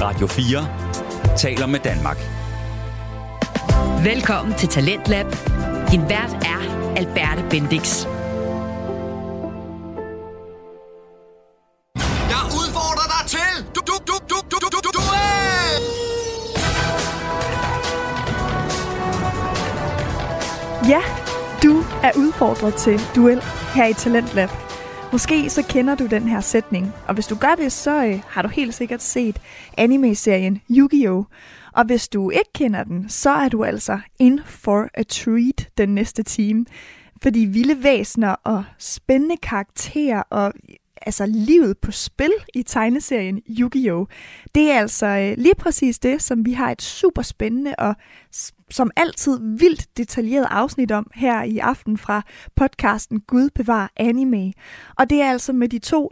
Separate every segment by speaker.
Speaker 1: Radio 4 taler med Danmark.
Speaker 2: Velkommen til Talentlab. Din vært er Alberte Bendix.
Speaker 3: Jeg udfordrer dig til du du du du du du du duel!
Speaker 4: Ja, du er udfordret til duel her i Talentlab. Måske så kender du den her sætning, og hvis du gør det, så øh, har du helt sikkert set anime-serien Yu-Gi-Oh! Og hvis du ikke kender den, så er du altså in for a treat den næste time. Fordi vilde væsener og spændende karakterer og altså livet på spil i tegneserien Yu-Gi-Oh! Det er altså øh, lige præcis det, som vi har et super spændende og s- som altid vildt detaljeret afsnit om her i aften fra podcasten Gud bevar anime. Og det er altså med de to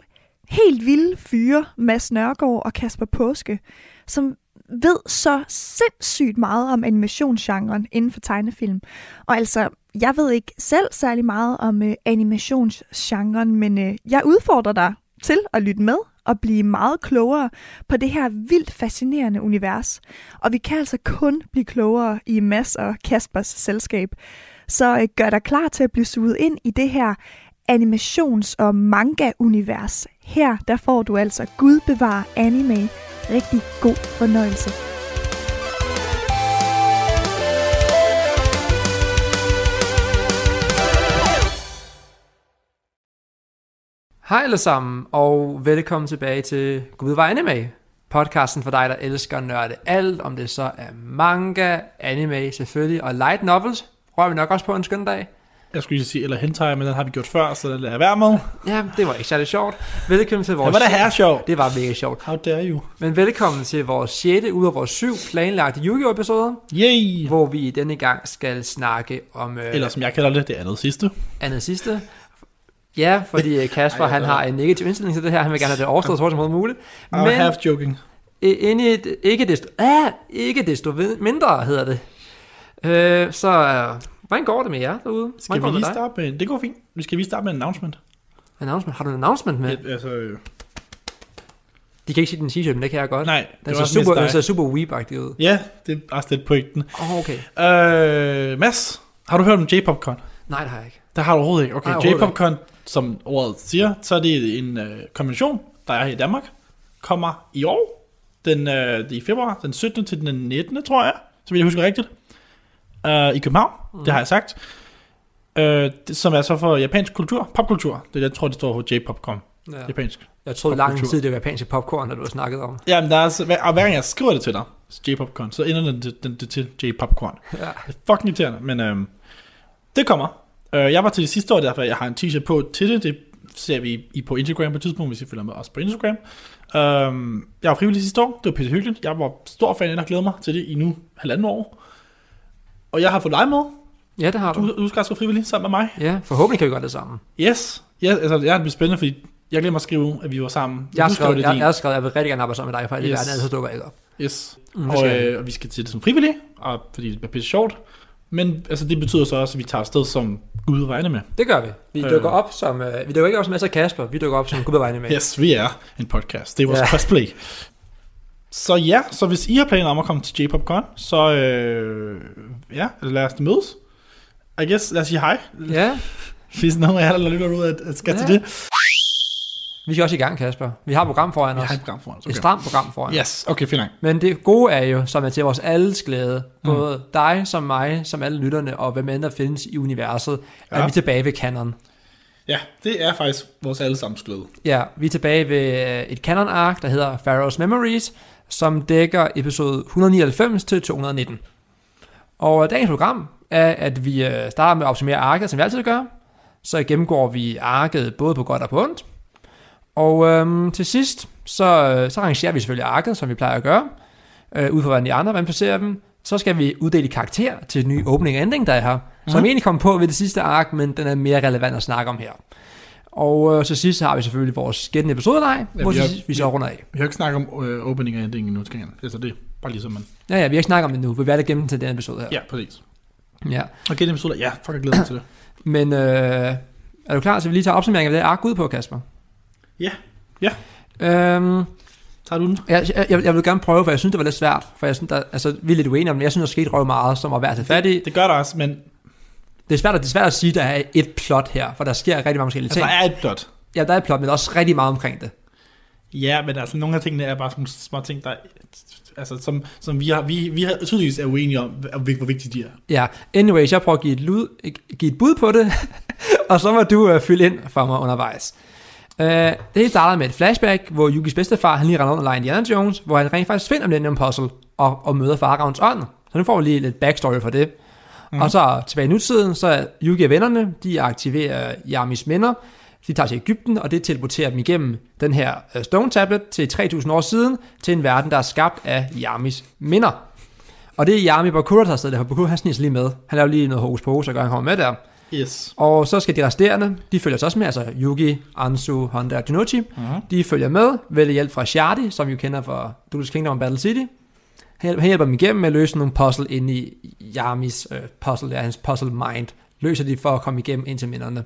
Speaker 4: helt vilde fyre, Mads Nørgaard og Kasper Påske, som ved så sindssygt meget om animationsgenren inden for tegnefilm. Og altså, jeg ved ikke selv særlig meget om øh, animationsgenren, men øh, jeg udfordrer dig til at lytte med og blive meget klogere på det her vildt fascinerende univers. Og vi kan altså kun blive klogere i Mads og Kaspers selskab. Så øh, gør dig klar til at blive suget ind i det her animations- og manga-univers. Her der får du altså Gud bevare anime. Rigtig god fornøjelse.
Speaker 5: Hej alle sammen, og velkommen tilbage til Gud var anime, podcasten for dig, der elsker at nørde alt, om det så er manga, anime selvfølgelig, og light novels, rører vi nok også på en skøn dag.
Speaker 6: Jeg skulle lige sige, eller hentai, men den har vi gjort før, så den lader jeg være med.
Speaker 5: Ja, det var ikke særlig sjovt. Velkommen til vores...
Speaker 6: Det var da herre sjov.
Speaker 5: Det var mega sjovt.
Speaker 6: How dare you?
Speaker 5: Men velkommen til vores 6. ud af vores 7 planlagte Yu-Gi-Oh! episoder,
Speaker 6: Yay!
Speaker 5: hvor vi denne gang skal snakke om øh,
Speaker 6: Eller som jeg kalder det, det andet sidste.
Speaker 5: andet sidste. Ja, fordi øh, Kasper han har en negativ indstilling til det her, han vil gerne have det overstået så hurtigt som overhovedet muligt.
Speaker 6: I'm Men... half joking.
Speaker 5: Øh, Inde i et, ikke, desto, ah, ikke desto ved- mindre hedder det. Øh, så øh, hvordan går det med jer derude? Hvordan
Speaker 6: Skal
Speaker 5: går
Speaker 6: vi
Speaker 5: det med
Speaker 6: lige
Speaker 5: dig?
Speaker 6: starte med, det går fint. Vi skal lige starte med en announcement.
Speaker 5: Announcement. Har du en announcement med?
Speaker 6: Ja, altså, øh,
Speaker 5: De kan ikke se din t-shirt, men det kan jeg godt.
Speaker 6: nej, det
Speaker 5: den,
Speaker 6: var
Speaker 5: ser
Speaker 6: også mest
Speaker 5: super, den
Speaker 6: dig.
Speaker 5: ser super weeb-agtig ud.
Speaker 6: Ja, det er også lidt pointen.
Speaker 5: Åh, oh, okay.
Speaker 6: Øh, Mads, har du hørt om J-Popcon?
Speaker 5: Nej, det har jeg ikke.
Speaker 6: Det har du overhovedet ikke. Okay,
Speaker 5: Nej, overhovedet
Speaker 6: J-Popcon, som ordet siger, så er det en øh, konvention, der er her i Danmark, kommer i år, den, øh, det er i februar, den 17. til den 19. tror jeg, så vil jeg huske rigtigt, øh, i København, mm. det har jeg sagt, øh, det, som er så for japansk kultur, popkultur, det er det, jeg tror, det står for J-Popcon,
Speaker 5: Ja.
Speaker 6: japansk.
Speaker 5: Jeg troede lang
Speaker 6: Popkultur.
Speaker 5: tid, det var japanske popcorn, der du har snakket om.
Speaker 6: Jamen, der er, så- hver, og hver gang jeg skriver det til dig, J-Popcorn, så ender den, den, den det til J-Popcorn.
Speaker 5: Ja.
Speaker 6: Det er fucking irriterende, men øhm, det kommer. Øh, jeg var til det sidste år, derfor jeg har en t-shirt på til det. Det ser vi i på Instagram på et tidspunkt, hvis I følger med os på Instagram. Øhm, jeg var frivillig sidste år, det var pisse hyggeligt. Jeg var stor fan, og glæder mig til det i nu halvanden år. Og jeg har fået dig med.
Speaker 5: ja, det har du.
Speaker 6: Du, du skal også være frivillig sammen med mig.
Speaker 5: Ja, forhåbentlig kan vi gøre det sammen.
Speaker 6: Yes. yes altså, jeg er blevet spændende, fordi jeg glemmer at skrive, at vi var sammen.
Speaker 5: Jeg har
Speaker 6: Du skrev
Speaker 5: skrevet,
Speaker 6: det
Speaker 5: jeg,
Speaker 6: din.
Speaker 5: jeg, har skrevet, jeg vil rigtig gerne arbejde sammen med dig, for alt i
Speaker 6: Yes.
Speaker 5: verden, ellers så dukker jeg ikke op.
Speaker 6: Yes.
Speaker 5: Mm,
Speaker 6: Mm,
Speaker 5: det skal
Speaker 6: og,
Speaker 5: vi.
Speaker 6: øh, og vi skal til det som frivillige, og, fordi det er pisse sjovt. Men altså, det betyder så også, at vi tager afsted som Gud regner med.
Speaker 5: Det gør vi. Vi
Speaker 6: Øh.
Speaker 5: dukker op som, øh, vi dukker ikke op som Mads og Kasper, vi dukker op som Gubbervejne med.
Speaker 6: Yes, vi er en podcast. Det er vores
Speaker 5: Ja.
Speaker 6: ja. cosplay. Så ja, så hvis I har planer om at komme til J-Popcon, så øh, ja, lad os mødes. I guess, lad os sige hej.
Speaker 5: Ja,
Speaker 6: Hvis nogen af jer, der lytter ud at, at skal
Speaker 5: Ja.
Speaker 6: til det. Jeg
Speaker 5: vi skal også i gang, Kasper. Vi har et program foran os.
Speaker 6: har et program foran os.
Speaker 5: Et
Speaker 6: Okay.
Speaker 5: stramt program foran. os.
Speaker 6: Yes, okay, fint nok.
Speaker 5: Men det gode er jo, som er til vores alles glæde, både dig som mig, som alle lytterne, og hvem end der findes i universet, ja. at
Speaker 6: Ja.
Speaker 5: vi er tilbage ved kanon.
Speaker 6: Ja, det er faktisk vores allesammens glæde.
Speaker 5: Ja, vi er tilbage ved øh, et kanon-ark, der hedder Pharaoh's Memories, som dækker episode 199 til 219. Og dagens program er, at vi øh, starter med at opsummere arket, som vi altid gør. Så gennemgår vi arket både på godt og på ondt. Og øhm, til sidst, så, øh, så arrangerer vi selvfølgelig arket, som vi plejer at gøre, øh, ud fra hvordan de andre, hvordan placerer dem. Så skal vi uddele karakter til den nye opening og ending, der er her, som
Speaker 6: Mhm.
Speaker 5: egentlig kom på ved det sidste ark, men den er mere relevant at snakke om her. Og øh, til sidst har vi selvfølgelig vores gættende episodeleg,
Speaker 6: Ja,
Speaker 5: hvor
Speaker 6: vi
Speaker 5: vi,
Speaker 6: har-
Speaker 5: vi så runder af.
Speaker 6: Vi har jo ikke snakket om øh, opening og ending endnu, skal jeg. Altså det er bare ligesom man.
Speaker 5: Ja, ja, vi har ikke snakket om det nu. Vi vil være det gennem til den episode her.
Speaker 6: Ja, præcis.
Speaker 5: ja.
Speaker 6: Og gennem episoder, ja, fuck, jeg glæder mig til det.
Speaker 5: Men øh, er du klar til, at vi lige tager opsummeringen af det ark ud på, Kasper?
Speaker 6: Ja, ja.
Speaker 5: Øhm,
Speaker 6: Tager du den?
Speaker 5: Jeg, jeg, jeg vil gerne prøve, for jeg synes, det var lidt svært. For jeg synes, der, altså, vi er lidt uenige om det. Jeg synes, der skete røv meget, som var værd at tage fat i.
Speaker 6: Det gør der også, men
Speaker 5: Det er svært, at- det er svært at sige, at der er et plot her, for der sker rigtig mange forskellige
Speaker 6: altså,
Speaker 5: ting.
Speaker 6: der er et plot.
Speaker 5: Ja, der er et plot, men der er også rigtig meget omkring det.
Speaker 6: Ja, men altså nogle af tingene er bare sådan små ting, der, altså, som, som vi, har, vi, vi har tydeligvis er uenige om, hvor, hvor vigtige de er.
Speaker 5: Ja, anyways, jeg prøver at give et, lud, give et bud på det, og så må du øh, fylde ind for mig undervejs. Øh, det hele starter med et flashback, hvor Yukis bedstefar han lige render rundt og leger Indiana Jones, hvor han rent faktisk finder Millennium Puzzle og, og møder Faravns ånd. Så nu får vi lige lidt backstory for det. Mm. Og så tilbage i nutiden, så er Yuki og vennerne, de aktiverer Yamis minder. De tager til Ægypten, og det teleporterer dem igennem den her øh, Stone Tablet til 3000 år siden, til en verden, der er skabt af Yamis minder. Og det er Yami Bakura, der har stadig, for Bakura han sniger sig lige med. Han laver lige noget hokus pokus, og gør, at han kommer med der.
Speaker 6: Yes.
Speaker 5: Og så skal de resterende, de følger sig også med, altså Yugi, Anzu, Honda og Junichi. Mm-hmm. De følger med, ved hjælp fra Shardy, som vi jo kender fra Duel's Kingdom og Battle City. Han hjælper, han hjælper dem igennem med at løse nogle puzzle inde i Yamis øh, puzzle, der er hans puzzle mind. Løser de for at komme igennem ind til minderne.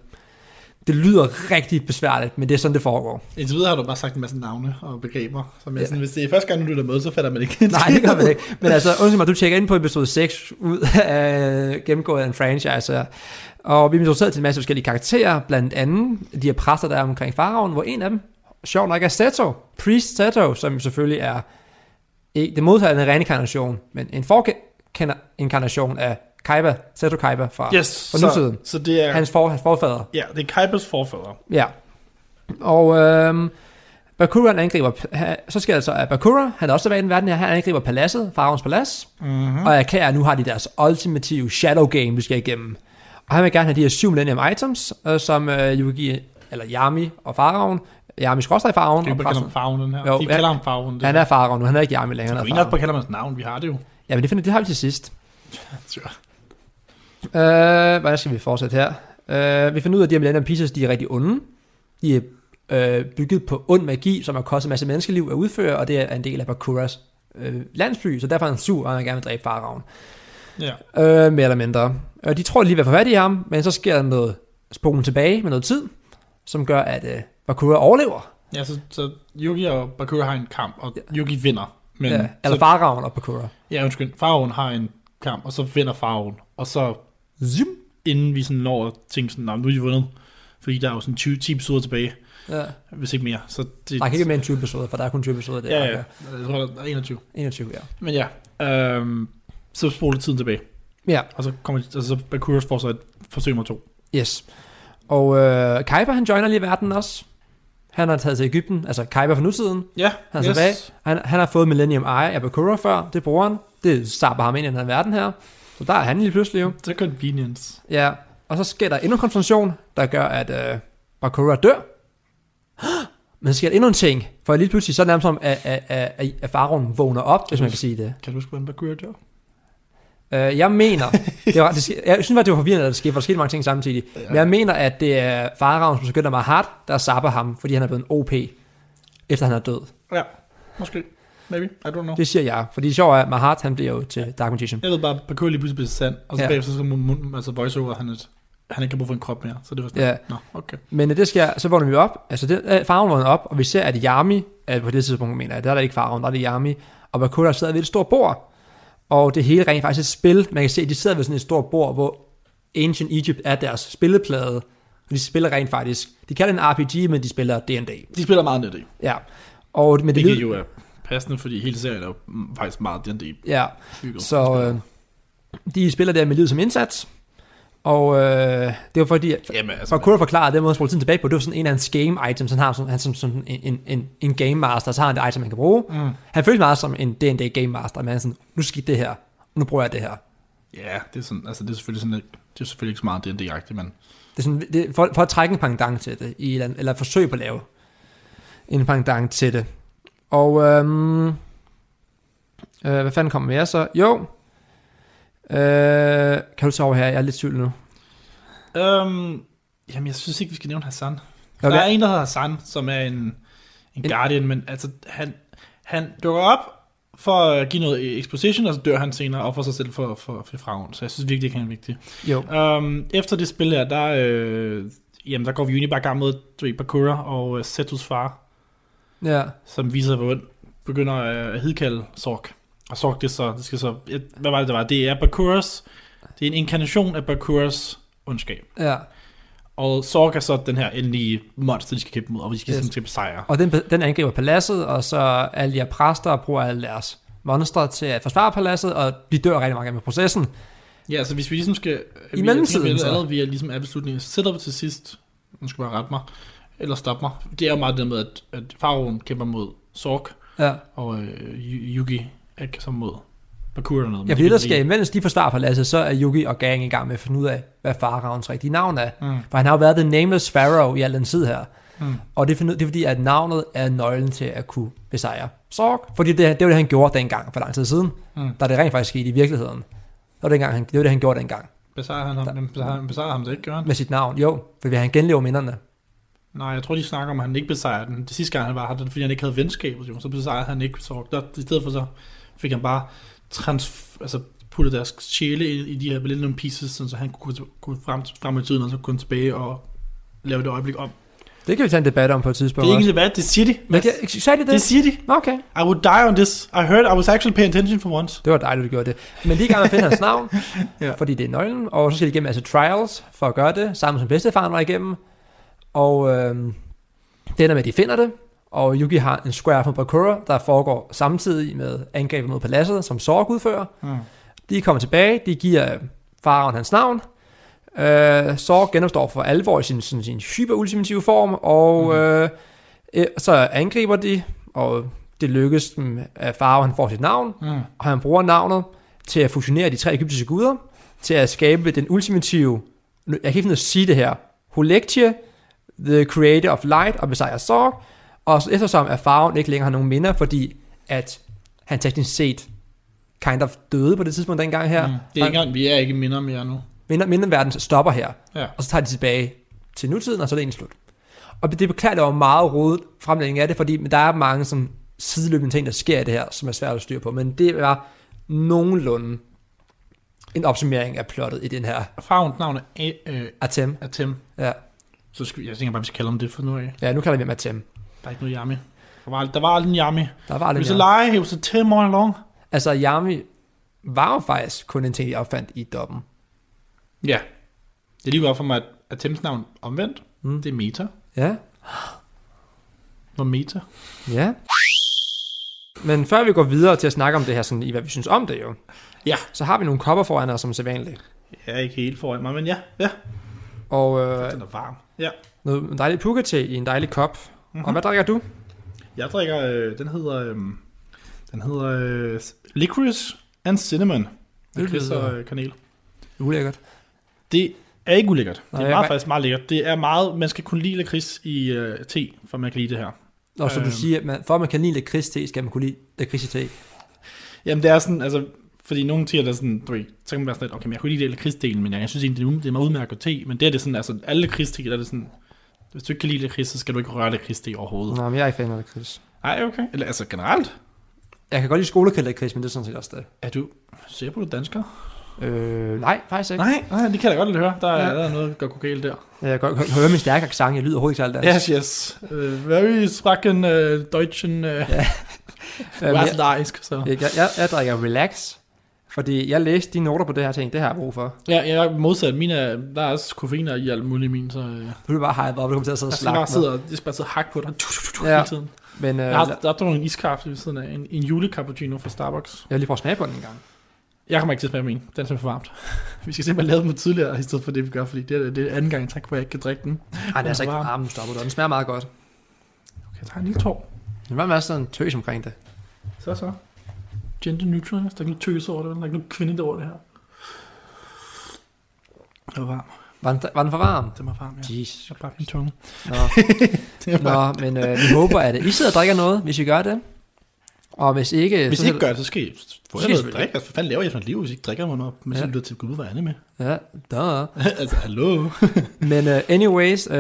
Speaker 5: Det lyder rigtig besværligt, men det er sådan, det foregår.
Speaker 6: Indtil videre har du bare sagt en masse navne og begreber, som jeg sådan, hvis det er første gang, du lytter med, så fatter man ikke.
Speaker 5: Nej, det gør man ikke. Men altså, undskyld mig, du tjekker ind på episode 6 ud af gennemgået af en franchise. Og vi er introduceret til en masse forskellige karakterer, blandt andet de her præster, der er omkring faraven, hvor en af dem, sjov nok, er Seto, Priest Seto, som selvfølgelig er ikke det modsatte af en reinkarnation, men en forinkarnation af Kaiba, Seto Kaiba fra,
Speaker 6: Yes,
Speaker 5: fra
Speaker 6: så,
Speaker 5: nutiden.
Speaker 6: så det er,
Speaker 5: Hans, for, hans forfader.
Speaker 6: ja, det er Kaibers forfædre.
Speaker 5: Ja. Og øhm, Bakura han angriber, ha- så sker det så, at Bakura, han er også tilbage i den verden her, han angriber paladset, Farons palads,
Speaker 6: Mhm.
Speaker 5: mm-hmm. og erklærer, at nu har de deres ultimative shadow game, vi skal igennem. Og han vil gerne have de her syv millennium items, øh, som øh, Yugi, eller Yami og Faraon, Yami skråstrej Faraon,
Speaker 6: Det er jo
Speaker 5: og
Speaker 6: bare kalder
Speaker 5: præsten-
Speaker 6: ham farven, den her.
Speaker 5: Jo,
Speaker 6: de
Speaker 5: ja.
Speaker 6: kalder ham farven. Det.
Speaker 5: han er Faraon nu, han er ikke Yami længere.
Speaker 6: du
Speaker 5: han er
Speaker 6: kan ikke nok
Speaker 5: Faraon.
Speaker 6: bare kalde ham hans navn, vi har det jo.
Speaker 5: Ja, men det, finder, det har vi til sidst.
Speaker 6: Sure.
Speaker 5: Øh, hvordan skal vi fortsætte her? Øh, vi finder ud af, at de her Millennium Pieces, de er rigtig onde. De er øh, bygget på ond magi, som har kostet en masse menneskeliv at udføre, og det er en del af Bakuras øh, landsby, så derfor er han sur, og han vil gerne vil dræbe faraven.
Speaker 6: Ja.
Speaker 5: Øh, mere eller mindre. Øh, de tror lige, hvad for fat i ham, men så sker der noget spolen tilbage med noget tid, som gør, at øh, Bakura overlever.
Speaker 6: ja, så, så Yugi og Bakura har en kamp, og Yugi vinder. Men,
Speaker 5: Men, ja, Øh, eller
Speaker 6: så,
Speaker 5: faraven og Bakura.
Speaker 6: ja, undskyld, farven har en kamp, og så vinder farven. Og så
Speaker 5: Zoom.
Speaker 6: inden vi sådan når at tænke sådan, "Nå, nu er de vundet. Fordi der er jo sådan 20, 10 episoder tilbage,
Speaker 5: Ja.
Speaker 6: hvis ikke mere. Så det,
Speaker 5: Der er ikke mere end 20 episoder, for der er kun 20 episoder der.
Speaker 6: ja, ja, jeg tror, der er 21.
Speaker 5: 21, ja.
Speaker 6: Men ja, øhm, så spoler tiden tilbage.
Speaker 5: Ja,
Speaker 6: Og så kommer altså, så Bakura får så et forsøg nummer to.
Speaker 5: Yes. Og øh, Kaiba, han joiner lige verden også. Han har taget til Ægypten, altså Kaiba fra nutiden.
Speaker 6: Ja,
Speaker 5: Han er yes. tilbage. Han, han har fået Millennium Eye af Bakura før, det bruger han. Det sapper ham ind i den her verden her. Så der er han lige pludselig jo.
Speaker 6: Så convenience.
Speaker 5: Ja, og så sker der endnu en konfrontation, der gør, at øh, Bakura dør. Men så sker der endnu en ting, for lige pludselig så er det nærmest som, at, at, at, at, at Faron vågner op, hvis man kan sige det.
Speaker 6: Kan du huske, hvordan Bakura dør?
Speaker 5: Øh, jeg mener, det var, det, sk- jeg synes bare, det var forvirrende, at det skete, for der skete mange ting samtidig. Ja. Men jeg mener, at det er Faraon, som begynder meget hardt, der sapper ham, fordi han er blevet en OP, efter han er død.
Speaker 6: Ja, måske. Maybe. I don't know.
Speaker 5: Det siger jeg, fordi det sjove er, at Mahat, han bliver jo til Dark Magician.
Speaker 6: Jeg ved bare, at Bakura lige pludselig bliver sand, og så
Speaker 5: Ja.
Speaker 6: ja. bagefter så må mun- altså voiceover, han, et, han ikke kan bruge for en krop mere. Så det var sådan,
Speaker 5: Ja.
Speaker 6: nå, okay.
Speaker 5: Men øh, det sker, så vågner vi op, altså det, øh, Faraon vågner op, og vi ser, at Yami, øh, på det tidspunkt mener jeg, der er der ikke Faraon, der er det Yami, og Bakura sidder ved et stort bord, og det hele er rent faktisk et spil. Man kan se, at de sidder ved sådan et stort bord, hvor Ancient Egypt er deres spilleplade, og de spiller rent faktisk. De kalder det en RPG, men de spiller D&D.
Speaker 6: De spiller meget E net i.
Speaker 5: Ja, og med det,
Speaker 6: Hvilket
Speaker 5: det
Speaker 6: jo er passende, fordi hele serien er jo mm, faktisk meget D&D
Speaker 5: ja,
Speaker 6: bygget.
Speaker 5: så øh, de spiller der med livet som indsats, og øh, det var fordi, at
Speaker 6: Jamen,
Speaker 5: for
Speaker 6: altså,
Speaker 5: at kunne forklare den måde, at spole tiden tilbage på, det var sådan en af hans game items, han har som, han som, som en, en- en, en game master, så har han det item, han kan bruge. Mm. Han føles meget som en D&D game master, men han er sådan, nu skete det her, nu bruger jeg det her.
Speaker 6: ja, det er, sådan, altså, det er selvfølgelig sådan, lidt- det er selvfølgelig ikke så meget D&D-agtigt, men
Speaker 5: Det er sådan, det, for, for at trække en pangdang til det, i, et eller, andet- eller et forsøg på at lave en pangdang til det. Og øhm, øh, hvad fanden kommer mere så? Jo, øh, kan du tage over her? Jeg er lidt tvivl nu.
Speaker 6: Øhm, jamen, jeg synes ikke, vi skal nævne Hassan.
Speaker 5: Okay.
Speaker 6: Der er en, der hedder Hassan, som er en, en, Guardian, men altså, han, han dukker op for at give noget exposition, og så dør han senere og for sig selv for, for, for fragen. Så jeg synes virkelig, ikke, han er vigtig.
Speaker 5: Jo,
Speaker 6: Øhm, efter det spil her, der, øh, jamen, der går vi jo egentlig bare i gang med du ved, Bakura og øh, Setus far,
Speaker 5: ja.
Speaker 6: som viser sig, hvor ond begynder øh, at hedkalde Sork. Og Sork, det, er så, det skal så... et- Hvad var det, det var? Det er Bakuras. Det er en inkarnation af Bakuras ondskab.
Speaker 5: Ja.
Speaker 6: Og Sork er så den her endelige monster, de skal kæmpe mod, og de skal
Speaker 5: Yes.
Speaker 6: yes. sådan skal besejre.
Speaker 5: Og den, den angriber paladset, og så alle de her præster bruger alle deres monstre til at forsvare paladset, og de dør rigtig mange med processen.
Speaker 6: Ja, så hvis vi ligesom skal... vi-
Speaker 5: mellemtiden,
Speaker 6: Vi er
Speaker 5: så?
Speaker 6: allerede, vi er ligesom af beslutningen. Setup til sidst. Nu skal bare rette mig. Eller stoppe mig. Det er jo meget det med, at, at Faroen kæmper mod Sork,
Speaker 5: Ja.
Speaker 6: og øh, Yu- Yugi er så mod Bakura eller noget.
Speaker 5: Jeg ved,
Speaker 6: Men det
Speaker 5: der
Speaker 6: kan vi
Speaker 5: skal, imens de forsvarer paladset, så er Yugi og Gang i gang med at finde ud af, hvad Pharaohs rigtige navn er.
Speaker 6: Mm.
Speaker 5: For han har jo været The Nameless Pharaoh i al den tid her.
Speaker 6: Mm.
Speaker 5: Og det er, find- det er fordi, at navnet er nøglen til at kunne besejre Sorg. Fordi det, det var det, han gjorde dengang for lang tid siden.
Speaker 6: Mm.
Speaker 5: Da det rent faktisk skete i virkeligheden. Det var, dengang, han, det, var det, han gjorde dengang.
Speaker 6: Besejrer han ham? Men besejrer, besejrer ham det ikke, gør han?
Speaker 5: Med sit navn. Jo, fordi han genlever minderne.
Speaker 6: Nej, jeg tror, de snakker om, at han ikke besejrer den. Det sidste gang, han var her, det var, fordi han ikke havde venskabet, jo. så besejrede han ikke Sork. Der, I stedet for så fik han bare trans, altså, puttet deres sjæle i, i de her Millennium Pieces, sådan, så han kunne gå frem, frem i tiden, og så kunne han tilbage og lave det øjeblik om.
Speaker 5: Det kan vi tage en debat om på et
Speaker 6: Det
Speaker 5: tidspunkt.
Speaker 6: er ikke en debat, det siger de.
Speaker 5: Men
Speaker 6: Mads.
Speaker 5: jeg, sagde de det?
Speaker 6: Det siger de.
Speaker 5: Nå, Okay.
Speaker 6: I would die on this. I heard I was actually paying attention for once.
Speaker 5: Det var dejligt, du gjorde det. Men lige i gang med at finde hans navn,
Speaker 6: Ja.
Speaker 5: ja. fordi det er nøglen. Og så skal de igennem altså trials for at gøre det, sammen som bedstefaren var igennem. Og øh, det ender med, at de finder det. Og Yugi har en square fra Bakura, der foregår samtidig med angrebet mod paladset, som Sorg udfører.
Speaker 6: Mm.
Speaker 5: De kommer tilbage, de giver øh, faraon hans navn. Øh, Sorg genopstår for alvor i sin, sin, sin hyperultimative form, og
Speaker 6: Mhm.
Speaker 5: mm. øh, øh, så angriber de, og det lykkes dem, at faraon får sit navn
Speaker 6: Mm.
Speaker 5: og han bruger navnet til at fusionere de tre egyptiske guder, til at skabe den ultimative, nu- jeg kan ikke finde ud af at sige det her, Holektie, the creator of light, og besejrer Sorg, og så eftersom at farven ikke længere har nogen minder, fordi at han teknisk set kind of døde på det tidspunkt dengang her,
Speaker 6: Mm. Det er ikke engang, vi er ikke minder mere nu.
Speaker 5: minder, minderverden stopper her,
Speaker 6: Ja.
Speaker 5: og så tager de tilbage til nutiden, og så er det egentlig slut. Og det beklager, der var meget rodet fremlægning af det, fordi men der er mange sådan, sideløbende ting, der sker i det her, som er svært at styre på, men det var nogenlunde en opsummering af plottet i den her
Speaker 6: Farvens navn er A- øh,
Speaker 5: Atem.
Speaker 6: Atem.
Speaker 5: Ja,
Speaker 6: Så skal, vi- jeg tænker bare, vi skal kalde ham det for nu af.
Speaker 5: ja nu kalder vi ham Atem.
Speaker 6: Der er ikke noget yami. Der var, der var aldrig en yami.
Speaker 5: Der var
Speaker 6: Hvis
Speaker 5: aldrig
Speaker 6: jeg
Speaker 5: mere.
Speaker 6: leger, he was a 10 all along.
Speaker 5: Altså, Yami var jo faktisk kun en ting, de opfandt i doppen.
Speaker 6: Ja. Det er lige gået op for mig, at Attempts navn omvendt, mm.
Speaker 5: Mm.
Speaker 6: det er meta.
Speaker 5: Ja,
Speaker 6: Hvor meta?
Speaker 5: ja. Men før vi går videre til at snakke om det her, sådan i hvad vi synes om det jo,
Speaker 6: Ja.
Speaker 5: så har vi nogle kopper foran os som sædvanligt.
Speaker 6: Jeg er ikke helt foran mig, men ja. ja.
Speaker 5: Og øh,
Speaker 6: Den er varm. Ja.
Speaker 5: Noget dejligt pukkate i en dejlig kop. Mm-hmm.
Speaker 6: Mhm.
Speaker 5: Og hvad drikker du?
Speaker 6: Jeg drikker, øh, den hedder, øh, den hedder øh, licorice and cinnamon. Det
Speaker 5: lyder-
Speaker 6: lyder... øh, kanel.
Speaker 5: Ulækkert.
Speaker 6: Det er ikke ulækkert. Det er
Speaker 5: Nej,
Speaker 6: meget,
Speaker 5: hvad-
Speaker 6: faktisk meget lækkert. Det er meget, man skal kunne lide lakrids i øh, te, for man kan lide det her.
Speaker 5: Og så
Speaker 6: Øhm.
Speaker 5: du siger, at man, for at man kan lide lakrids te, skal man kunne lide lakrids i te.
Speaker 6: Jamen det er sådan, altså, fordi nogle tier, der er sådan, du ved, så kan man være sådan lidt, okay, men jeg kunne lide det lakridsdelen, men jeg, jeg synes egentlig, det er u- det er meget udmærket at te, men det er det sådan, altså alle lakridste, der er det sådan, hvis du ikke kan lide lakrids, så skal du ikke røre lakridste overhovedet.
Speaker 5: Nå, men jeg er ikke fan af lakrids.
Speaker 6: Nej, okay. Eller altså generelt,
Speaker 5: Jeg kan godt lide skolekaldt lakrids, men det er sådan set også det.
Speaker 6: er du, ser på du dansker?
Speaker 5: Øh, nej, faktisk ikke.
Speaker 6: Nej, nej, det kan jeg da godt lidt høre. Der er,
Speaker 5: Ja.
Speaker 6: der er noget, der går galt der.
Speaker 5: Jeg kan godt høre min stærke accent, jeg lyder overhovedet ikke særlig dansk.
Speaker 6: Yes, yes. Uh, very sprachen uh, deutschen uh,
Speaker 5: Øhm, jeg,
Speaker 6: Wasserdeisk, så.
Speaker 5: jeg, jeg, jeg, jeg drikker relax, fordi jeg læste de noter på det her ting, det har jeg brug for.
Speaker 6: Ja, jeg er modsat. Mine, er- der er også koffeiner i alt muligt i min, så... Uh,
Speaker 5: Du er bare hype op, du kommer til at sidde og
Speaker 6: jeg skal bare
Speaker 5: slappe.
Speaker 6: sidde og, jeg skal bare sidde og hakke på dig
Speaker 5: Ja.
Speaker 6: ja. hele tiden.
Speaker 5: Men øh,
Speaker 6: Jeg har,
Speaker 5: jeg
Speaker 6: der er drukket en iskaffe ved siden af, en, en julecappuccino fra Starbucks.
Speaker 5: vil lige prøve at smage på den en gang.
Speaker 6: Jeg kommer ikke til at smage min, den er simpelthen for varmt. vi skal simpelthen lave dem tidligere, i stedet for det, vi gør, fordi det er, det er anden gang i træk, hvor jeg ikke kan drikke den.
Speaker 5: Nej, den er altså ikke
Speaker 6: varm.
Speaker 5: varm, nu stopper du. Den smager meget godt.
Speaker 6: Okay, jeg tager en lille tår.
Speaker 5: Men hvad med sådan en tøs omkring det?
Speaker 6: Så så. Gender neutral, der er ikke noget tøs over det, vel? der er ikke noget kvinde over det her. Det var varmt,
Speaker 5: Var den, var den for varm?
Speaker 6: det var varmt, ja.
Speaker 5: Jeez.
Speaker 6: Jeg bare min tunge.
Speaker 5: Nå.
Speaker 6: Det er varmt.
Speaker 5: Nå, men øh, vi håber, at I sidder og drikker noget, hvis I gør det. Og hvis ikke...
Speaker 6: Hvis
Speaker 5: så
Speaker 6: I ikke gør det, så skal I få
Speaker 5: I
Speaker 6: jer
Speaker 5: noget
Speaker 6: noget
Speaker 5: at drikke.
Speaker 6: drikke. Altså, Hvad fanden laver I for et liv, hvis I ikke drikker mig op? Men
Speaker 5: så
Speaker 6: så
Speaker 5: Ja.
Speaker 6: lytter til Gud, hvad er det med?
Speaker 5: Ja, da.
Speaker 6: altså, hallo?
Speaker 5: Men øh, anyways, øh,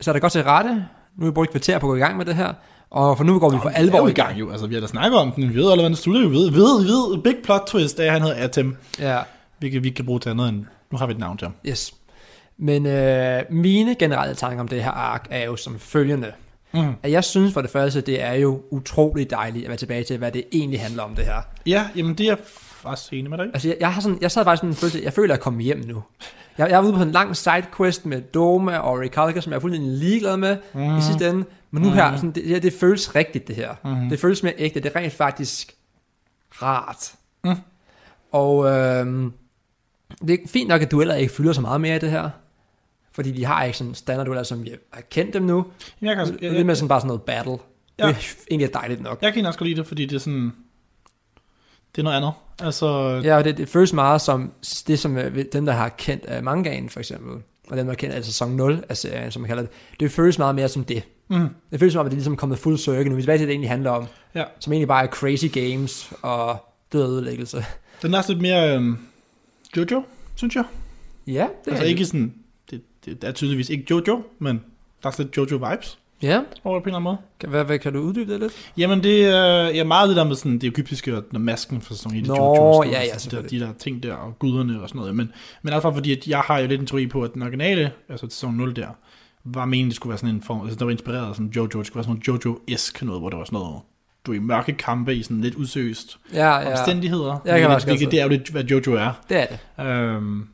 Speaker 5: så er det godt til rette. Nu har vi brugt et kvarter på at gå i gang med det her. Og for nu går vi for alvor
Speaker 6: i gang jo. Altså, vi har da snakket om den. Vi ved allerede, hvad den slutter jo. Vi ved, ved, ved. Big plot twist af, at han hedder Atem.
Speaker 5: Ja,
Speaker 6: Vi kan, vi kan bruge til andet end... Nu har vi et navn til ham.
Speaker 5: yes. Men øh, mine generelle tanker om det her ark er jo som følgende. Mm. At jeg synes for det første, det er jo utrolig dejligt at være tilbage til, hvad det egentlig handler om det her.
Speaker 6: Ja, jamen det er jeg faktisk enig med dig. i.
Speaker 5: Altså, jeg, jeg, har sådan, jeg sad faktisk sådan en følelse, jeg føler, at jeg er kommet hjem nu. Jeg, jeg var ude på sådan en lang sidequest med Doma og Recalca, som jeg er fuldstændig ligeglad med mm. i sidste ende. Men nu mm. her, sådan, det, det, her, det føles rigtigt, det her. Mm. Det føles mere ægte. Det er rent faktisk rart. Mm. Og øhm, det er fint nok, at dueller ikke fylder så meget mere i det her. Fordi de har ikke sådan standarddueller, som jeg har kendt dem nu.
Speaker 6: Jamen, jeg, kan,
Speaker 5: Det
Speaker 6: jeg,
Speaker 5: er lidt
Speaker 6: jeg,
Speaker 5: mere sådan bare sådan noget battle.
Speaker 6: Ja.
Speaker 5: Ja. Det er egentlig dejligt nok.
Speaker 6: jeg kan også godt lide det, fordi det er sådan... Det er noget andet. Altså,
Speaker 5: Ja, og det, det føles meget som det, som øh, dem, der har kendt øh, mangaen for eksempel, og dem, der har kendt altså sæson 0 af serien, som man kalder det, det føles meget mere som det.
Speaker 6: Mhm.
Speaker 5: Det føles som om, at det er ligesom kommet full circle nu. Vi er tilbage til, hvad det egentlig handler om,
Speaker 6: ja.
Speaker 5: som egentlig bare er crazy games og død og ødelæggelse.
Speaker 6: Den er også lidt mere øhm, Jojo, synes jeg.
Speaker 5: Ja, det
Speaker 6: Altså
Speaker 5: er
Speaker 6: ikke sådan... Det, det, er tydeligvis ikke Jojo, men der er sådan lidt Jojo-vibes
Speaker 5: Ja,
Speaker 6: over det på en eller anden måde.
Speaker 5: Kan- hvad, hvad kan du uddybe det lidt?
Speaker 6: Jamen det er øh, ja, meget det der med sådan, det egyptiske og når masken for sådan i det
Speaker 5: Nå,
Speaker 6: Jojo's,
Speaker 5: ja, ja,
Speaker 6: sådan der,
Speaker 5: selvfølgelig.
Speaker 6: de der ting der og guderne og sådan noget. Men, men altså bare fordi, at jeg har jo lidt en teori på, at den originale, altså sæson 0 der, var meningen, det skulle være sådan en form, altså der var inspireret af sådan Jojo, det skulle være sådan noget Jojo-esk noget, hvor der var sådan noget, du er i mørke kampe i sådan lidt usøst
Speaker 5: Ja, ja,
Speaker 6: omstændigheder,
Speaker 5: Jeg kan
Speaker 6: hvilket,
Speaker 5: også godt
Speaker 6: hvilket
Speaker 5: se
Speaker 6: det er jo lidt, hvad Jojo er.
Speaker 5: det er det.
Speaker 6: Øhm,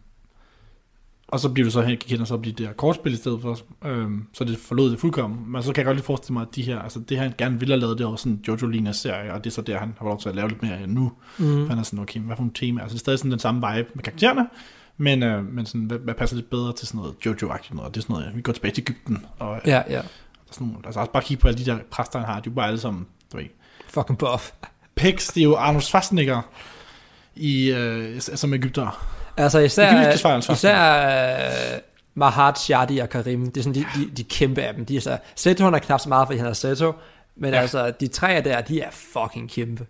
Speaker 6: og så bliver du så hen, kigger så op i det her kortspil i stedet for, øhm, så det forlod det fuldkommen. Men så kan jeg godt lige forestille mig, at de her, altså det han gerne ville have lavet, det var sådan en jojo Lina serie, og det er så der, han har lov til at lave lidt mere nu. Mm. Han er sådan, okay, hvad for nogle temaer? Altså det er stadig sådan den samme vibe med karaktererne, men, øh, men sådan, hvad, hvad, passer lidt bedre til sådan noget Jojo-agtigt noget? Og Det er sådan noget, vi går tilbage til Ægypten, og ja.
Speaker 5: Ja, ja.
Speaker 6: sådan nogle, altså også bare kigge på alle de der præster, han har, de er jo bare alle sammen, du ved,
Speaker 5: Fucking buff.
Speaker 6: Pix, det er jo Arnold Schwarzenegger, i, øh, som ægypter.
Speaker 5: Altså især,
Speaker 6: Det kan vi ikke svare ansvar.
Speaker 5: især øh, Mahat, Shadi og Karim, det er sådan de, de, de kæmpe af dem. De er så, Seto han er knap så meget, fordi han er Seto, men ja. altså de tre der, de er fucking kæmpe.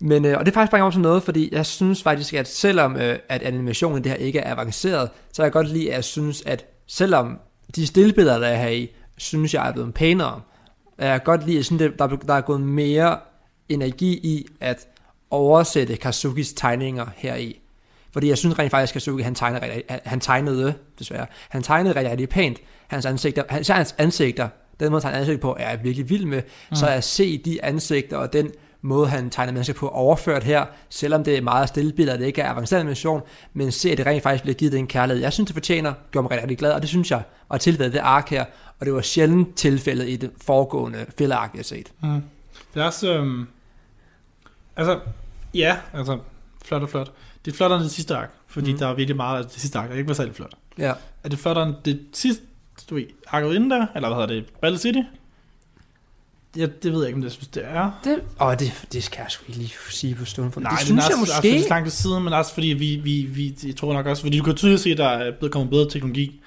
Speaker 5: Men, øh, og det faktisk bringer mig op til noget, fordi jeg synes faktisk, at selvom øh, at animationen i det her ikke er avanceret, så kan jeg godt lide, at jeg synes, at selvom de stillbilleder, der er her i, synes jeg er blevet pænere, jeg kan godt lide, at jeg synes, det- der, er blevet- der er gået mere energi i at oversætte Kazukis tegninger her i. Fordi jeg synes rent faktisk, at Kazuki, han, tegner, rigtig- han, han tegnede, desværre, han tegnede rigtig, rigtig pænt. Hans ansigter, han, især hans ansigter, den måde, han tegner ansigt på, er jeg virkelig vild med. Mm. Så at se de ansigter og den måde, han tegner mennesker på, overført her, selvom det er meget stille billeder, det ikke er avanceret animation, men se, at det rent faktisk bliver givet den kærlighed. Jeg synes, det fortjener, gjorde mig rigtig, rigtig glad, og det synes jeg var tilfældet i det ark her, og det var sjældent tilfældet i det foregående fælleark, jeg har set.
Speaker 6: Det er også, øhm, altså, ja, altså, flot og flot. Det er flottere end det sidste ark, fordi mm. der er virkelig meget af det sidste ark, der ikke var særlig flot.
Speaker 5: Ja.
Speaker 6: Er det flottere end det sidste, du ved, arket inden der, eller hvad hedder det, Battle City? Ja, det ved jeg ikke, om det, jeg synes, det er.
Speaker 5: Det, åh, det, det skal jeg sgu ikke lige sige på stående for.
Speaker 6: Nej,
Speaker 5: det
Speaker 6: er
Speaker 5: synes
Speaker 6: også,
Speaker 5: jeg
Speaker 6: Også, fordi det er
Speaker 5: måske.
Speaker 6: langt til siden, men også fordi vi, vi, vi, jeg tror nok også, fordi du kan tydeligt se, at der er blevet kommet bedre teknologi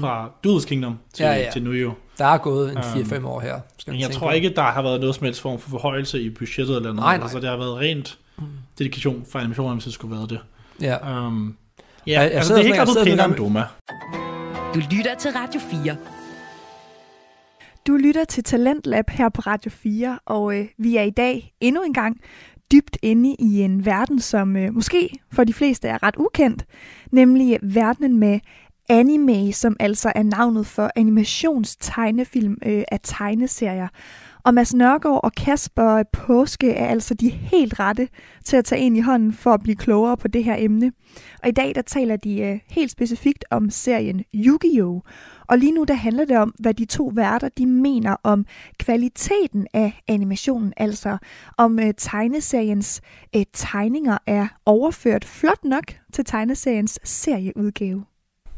Speaker 6: fra Dudes Kingdom til,
Speaker 5: Mhm. Ja, ja.
Speaker 6: til nu jo.
Speaker 5: Der er gået en
Speaker 6: Øhm,
Speaker 5: 4-5 år her. Skal man
Speaker 6: Men jeg
Speaker 5: tænke
Speaker 6: tror
Speaker 5: på.
Speaker 6: ikke, der har været noget som helst form for forhøjelse i budgettet eller noget.
Speaker 5: Nej, nej.
Speaker 6: Altså, det har været rent dedikation fra animationerne, hvis det skulle have været det.
Speaker 5: Ja.
Speaker 6: Um, ja,
Speaker 5: jeg
Speaker 6: altså
Speaker 5: sidder
Speaker 6: det er
Speaker 5: sådan-
Speaker 6: ikke
Speaker 5: jeg
Speaker 6: kommet
Speaker 5: sidder
Speaker 6: pænere
Speaker 5: sådan-
Speaker 6: end Doma.
Speaker 2: Du lytter til Radio 4.
Speaker 4: Du lytter til Talentlab her på Radio 4, og øh, vi er i dag endnu en gang dybt inde i en verden, som øh, måske for de fleste er ret ukendt, nemlig verdenen med anime, som altså er navnet for animationstegnefilm øh, af tegneserier. Og Mads Nørgaard og Kasper Påske er altså de helt rette til at tage ind i hånden for at blive klogere på det her emne. Og i dag der taler de øh, helt specifikt om serien Yu-Gi-Oh! Og lige nu der handler det om, hvad de to værter de mener om kvaliteten af animationen, altså om øh, tegneseriens øh, tegninger er overført flot nok til tegneseriens serieudgave.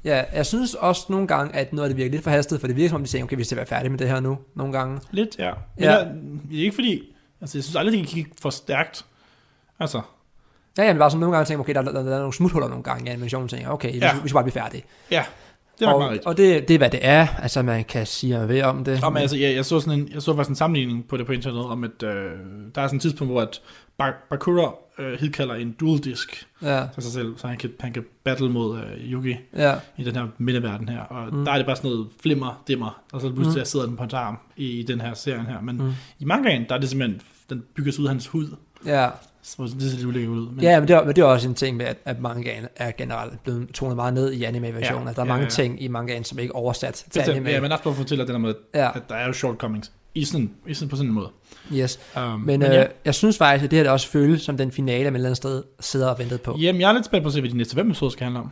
Speaker 5: Ja, jeg synes også nogle gange, at noget af det virker lidt forhastet, for det virker som om, de siger, okay, vi skal være færdige med det her nu, nogle gange.
Speaker 6: Lidt, ja. Men
Speaker 5: Ja.
Speaker 6: ja. det er ikke fordi, altså jeg synes aldrig, det gik for stærkt. Altså,
Speaker 5: Ja, jamen, bare sådan nogle gange tænker, okay, der, der, der, er nogle smuthuller nogle gange i animationen, tænker, okay, vi,
Speaker 6: Ja.
Speaker 5: vi skal bare blive færdige.
Speaker 6: ja, det var
Speaker 5: og,
Speaker 6: meget rigtigt.
Speaker 5: og det, det er, hvad det er. Altså, man kan sige og ved om det.
Speaker 6: Og men, altså, jeg, jeg, så sådan en, jeg så faktisk en sammenligning på det på internettet, om at øh, der er sådan et tidspunkt, hvor at Bak- Bakura øh, hidkalder en dual disk
Speaker 5: Ja,
Speaker 6: for sig selv, så han kan, han kan battle mod øh, Yugi
Speaker 5: ja.
Speaker 6: i den her midterverden her. Og mm. der er det bare sådan noget flimmer, dimmer, og så pludselig mm. sidder den på hans arm i, i den her serien her. Men mm. i mangaen, der er det simpelthen, den bygges ud af hans hud.
Speaker 5: Ja.
Speaker 6: Så det ser lidt ulækkert ud. Men,
Speaker 5: Ja, men det, er, men det er også en ting med, at, at mangaen er generelt blevet tonet meget ned i anime-versionen. Ja,
Speaker 6: Ja,
Speaker 5: altså, der er
Speaker 6: ja,
Speaker 5: mange
Speaker 6: ja.
Speaker 5: ting i mangaen, som ikke er oversat til
Speaker 6: bestemt,
Speaker 5: anime.
Speaker 6: ja, men også bare fortælle den her måde,
Speaker 5: ja,
Speaker 6: at der er jo shortcomings. I sådan, i sådan på sådan en måde.
Speaker 5: yes.
Speaker 6: Um,
Speaker 5: Men, men øh, ja. jeg synes faktisk, at det her det også føles som den finale, man et eller andet sted sidder og ventede på.
Speaker 6: Jamen, jeg er lidt spændt på at se, hvad de næste fem episoder skal handle om.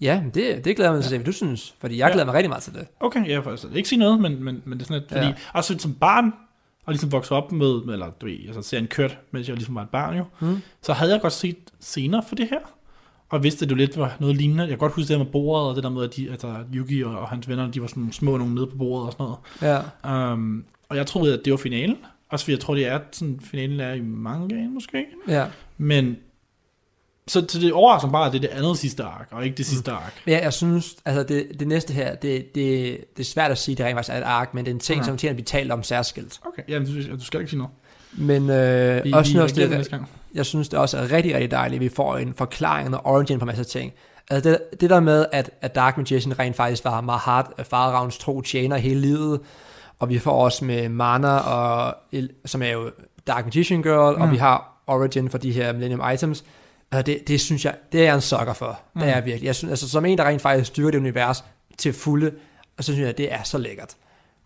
Speaker 5: Ja, men det, det glæder jeg mig til at se, hvad du synes. Fordi jeg
Speaker 6: Ja.
Speaker 5: glæder mig rigtig meget til det.
Speaker 6: Okay, jeg vil altså ikke sige noget, men, men, men det er sådan lidt, fordi,
Speaker 5: Ja.
Speaker 6: ja. også som barn, og ligesom vokse op med, med- eller du ved, altså serien kørt, mens jeg ligesom var et barn jo,
Speaker 5: Mm.
Speaker 6: så havde jeg godt set senere for det her, og vidste, at det jo lidt var noget lignende. Jeg kan godt huske det der med bordet, og det der med, at de, altså, Yuki og, og hans venner, de var sådan nogle små nogle nede på bordet og sådan noget.
Speaker 5: Ja.
Speaker 6: Um, og jeg troede, at det var finalen. Også fordi jeg tror, det er sådan, finalen er i mangaen måske.
Speaker 5: ja.
Speaker 6: Men så, så det overrasker mig bare, at det er det andet sidste ark, og ikke det sidste mm. ark.
Speaker 5: Men jeg, jeg synes, altså det, det næste her, det, det, det er svært at sige, det rent faktisk er et ark, men det er en ting,
Speaker 6: Ja.
Speaker 5: ja. som tjener at blive talt om særskilt.
Speaker 6: Okay, jamen, du, du skal ikke sige noget.
Speaker 5: Men øh,
Speaker 6: Vi,
Speaker 5: også
Speaker 6: vi,
Speaker 5: noget,
Speaker 6: reagerer
Speaker 5: det,
Speaker 6: næste gang.
Speaker 5: jeg synes, det også er rigtig, rigtig dejligt, at vi får en forklaring og origin på masser af ting. Altså det, det der med, at, at Dark Magician rent faktisk var Mahat, Faraons tro tjener hele livet, og vi får også med Mana, og, El- som er jo Dark Magician Girl, mm. og vi har origin for de her Millennium Items. Altså det, det synes jeg, det er jeg en sucker for. Mm. Det er jeg virkelig. Jeg synes, altså som en, der rent faktisk styrer det univers til fulde, og så synes jeg, det er så lækkert.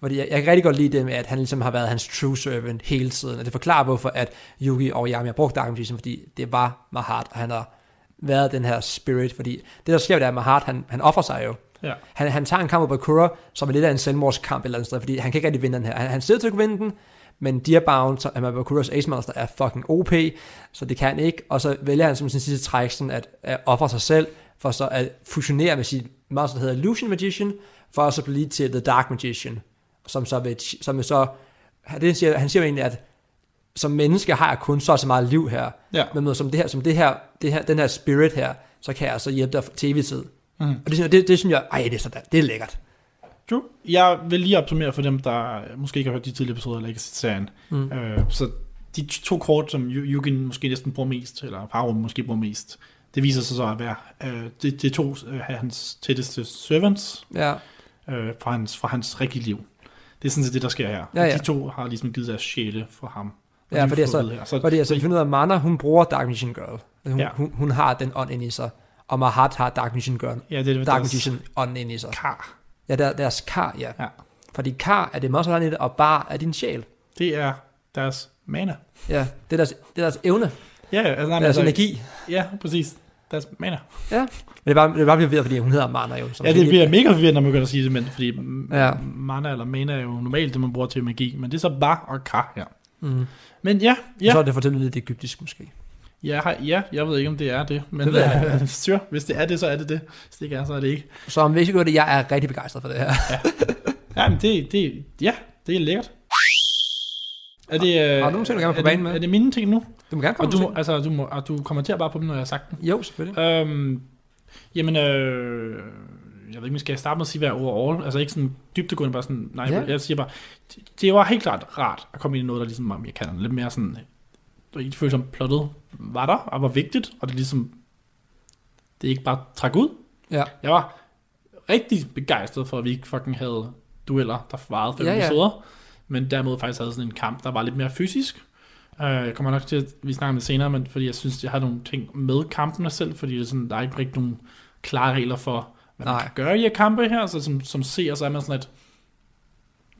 Speaker 5: Fordi jeg, jeg kan rigtig godt lide det med, at han ligesom har været hans true servant hele tiden, og det forklarer, hvorfor at Yugi og Yami har brugt Dark Magician, fordi det var Mahat, og han har været den her spirit, fordi det, der sker, det er, at Mahat, han, han offrer sig jo.
Speaker 6: Ja.
Speaker 5: Han, han tager en kamp på Bakura, som er lidt af en selvmordskamp et eller andet sted, fordi han kan ikke rigtig vinde den her. Han, han sidder til at kunne vinde den, men Dearbound, som er Bakuras Ace Monster, er fucking OP, så det kan han ikke. Og så vælger han som sin sidste træk sådan at, at ofre sig selv, for så at fusionere med sit monster, der hedder Illusion Magician, for at så blive til The Dark Magician, som så, vil, som vil så det siger, han siger jo egentlig, at som menneske har jeg kun så og så meget liv her,
Speaker 6: Ja.
Speaker 5: men med, som, det her, som det her, det her, den her spirit her, så kan jeg så hjælpe dig til evig tid.
Speaker 6: Mhm.
Speaker 5: Og det, synes jeg- det, det synes jeg, ej, det er sådan, det er lækkert.
Speaker 6: True. Jeg vil lige opsummere for dem, der måske ikke har hørt de tidligere episoder, eller ikke har set serien.
Speaker 5: Mm.
Speaker 6: Mm. Øh, så de t- to kort, som Yu- Yugen måske næsten bruger mest, eller Farum måske bruger mest, det viser sig så at være, øh, det, det er to øh, af hans tætteste servants
Speaker 5: Ja,
Speaker 6: øh, fra, hans, fra hans rigtige liv. Det er sådan set det, der sker her.
Speaker 5: Ja, ja.
Speaker 6: De to har ligesom givet deres sjæle for ham. Og
Speaker 5: ja
Speaker 6: de
Speaker 5: for det er
Speaker 6: får at vide
Speaker 5: så,
Speaker 6: her. så,
Speaker 5: for det er så, vi finder ud af, at Mana, hun bruger Dark Magician Girl. Hun, ja.
Speaker 6: Ja.
Speaker 5: hun, hun, har den ånd ind i sig, og Mahat har Dark Magician Girl.
Speaker 6: ja, det er
Speaker 5: Dark
Speaker 6: deres
Speaker 5: Magician ånden ind i sig.
Speaker 6: kar.
Speaker 5: Ja, der, deres kar, ja.
Speaker 6: Ja.
Speaker 5: Fordi kar er det monster, der er inde i det, og bar er din sjæl.
Speaker 6: Det er deres mana.
Speaker 5: Ja, det er deres, det er deres evne,
Speaker 6: Ja, ja, altså, nej, men
Speaker 5: deres
Speaker 6: altså,
Speaker 5: energi.
Speaker 6: ja, præcis. Deres mana.
Speaker 5: Ja. Men det er bare, det er bare forvirret, fordi hun hedder Marner jo. Som
Speaker 6: Ja, det bliver mega forvirrende, når man begynder at sige det, men fordi
Speaker 5: Ja.
Speaker 6: ja. mana eller mana er jo normalt det, man bruger til magi, men det er så bare og kar her.
Speaker 5: Mm.
Speaker 6: Men ja,
Speaker 5: Ja. Så
Speaker 6: ja,
Speaker 5: er det for eksempel lidt egyptisk måske.
Speaker 6: ja, har- ja, jeg ved ikke, om det er det, men
Speaker 5: Det ved jeg
Speaker 6: øh, sure, hvis det er det, så er det det. Hvis det ikke er, så er det ikke.
Speaker 5: Så om vi ikke gør det, jeg er rigtig begejstret for det her.
Speaker 6: Ja, men det, det, ja, det er lækkert. Er det, øh,
Speaker 5: har du nogle ting, du gerne vil på banen med?
Speaker 6: Er det mine ting nu?
Speaker 5: Du må gerne komme
Speaker 6: Og du,
Speaker 5: til.
Speaker 6: må, altså, du, må, og du kommenterer bare på dem, når jeg har sagt dem.
Speaker 5: Jo, selvfølgelig.
Speaker 6: Øhm, jamen, øh, jeg ved ikke, men skal jeg starte med at sige, hvad er overall? Altså ikke sådan dybtegående, bare sådan, nej,
Speaker 5: Ja.
Speaker 6: ja. jeg siger bare, det, det var helt klart rart at komme ind i noget, der ligesom var mere kan lidt mere sådan, det føles som plottet var der, og var vigtigt, og det ligesom, det ikke bare trak ud.
Speaker 5: Ja.
Speaker 6: Jeg var rigtig begejstret for, at vi ikke fucking havde dueller, der varede fem
Speaker 5: Ja,
Speaker 6: ja,
Speaker 5: ja.
Speaker 6: ja. episoder, men derimod faktisk havde sådan en kamp, der var lidt mere fysisk. Øh, Jeg kommer nok til at vi snakker om det senere, men fordi jeg synes, jeg har nogle ting med kampene selv, fordi det er sådan, der er ikke rigtig nogen klare regler for, hvad man
Speaker 5: Nej.
Speaker 6: kan gøre i her kampe her, så som, som ser, så er man sådan lidt,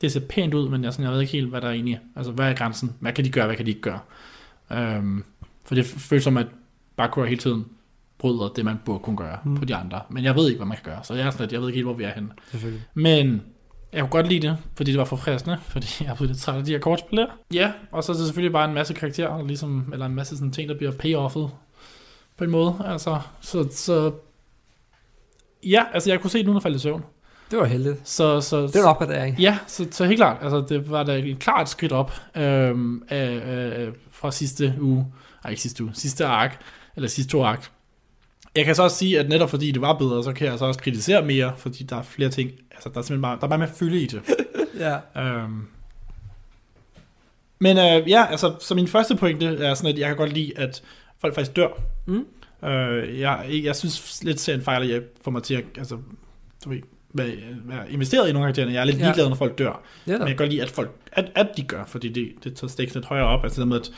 Speaker 6: det ser pænt ud, men jeg, er sådan, jeg ved ikke helt, hvad der er egentlig, altså hvad er grænsen, hvad kan de gøre, hvad kan de ikke gøre. Øhm, for det føles som, at Bakura hele tiden bryder det, man burde kunne gøre
Speaker 5: Mm.
Speaker 6: mm. på de andre, men jeg ved ikke, hvad man kan gøre, så jeg er sådan lidt, jeg ved ikke helt, hvor vi er henne.
Speaker 5: Selvfølgelig.
Speaker 6: Men jeg kunne godt lide det, fordi det var forfriskende, fordi jeg er blevet lidt træt af de her kortspil der. Ja, og så er det selvfølgelig bare en masse karakterer, ligesom, eller en masse sådan ting, der bliver payoffet på en måde. Altså, så, så ja, altså jeg kunne se, at nogen er faldet i søvn.
Speaker 5: Det var heldigt.
Speaker 6: Så, så,
Speaker 5: Det var en opgradering.
Speaker 6: Ja, så, så helt klart. Altså, det var da et klart skridt op øhm, af, øh, fra sidste uge. Nej, ikke sidste uge. Sidste ark. Eller sidste to ark. Jeg kan så også sige, at netop fordi det var bedre, så kan jeg så også kritisere mere, fordi der er flere ting. Altså, der er simpelthen bare, der er bare mere fylde i det.
Speaker 5: Ja.
Speaker 6: Øhm. Men øh, ja, altså, så min første pointe er sådan, at jeg kan godt lide, at folk faktisk dør.
Speaker 5: Mm.
Speaker 6: Øh, jeg, jeg synes lidt serien fejler, jeg får mig til at, altså, du ved, være, være investeret i nogle af karaktererne. Jeg er lidt
Speaker 5: Ja.
Speaker 6: ligeglad, når folk dør.
Speaker 5: Det er
Speaker 6: Men jeg
Speaker 5: der.
Speaker 6: kan godt lide, at folk, at, at de gør, fordi det, det tager stikket lidt højere op. Altså det med, at,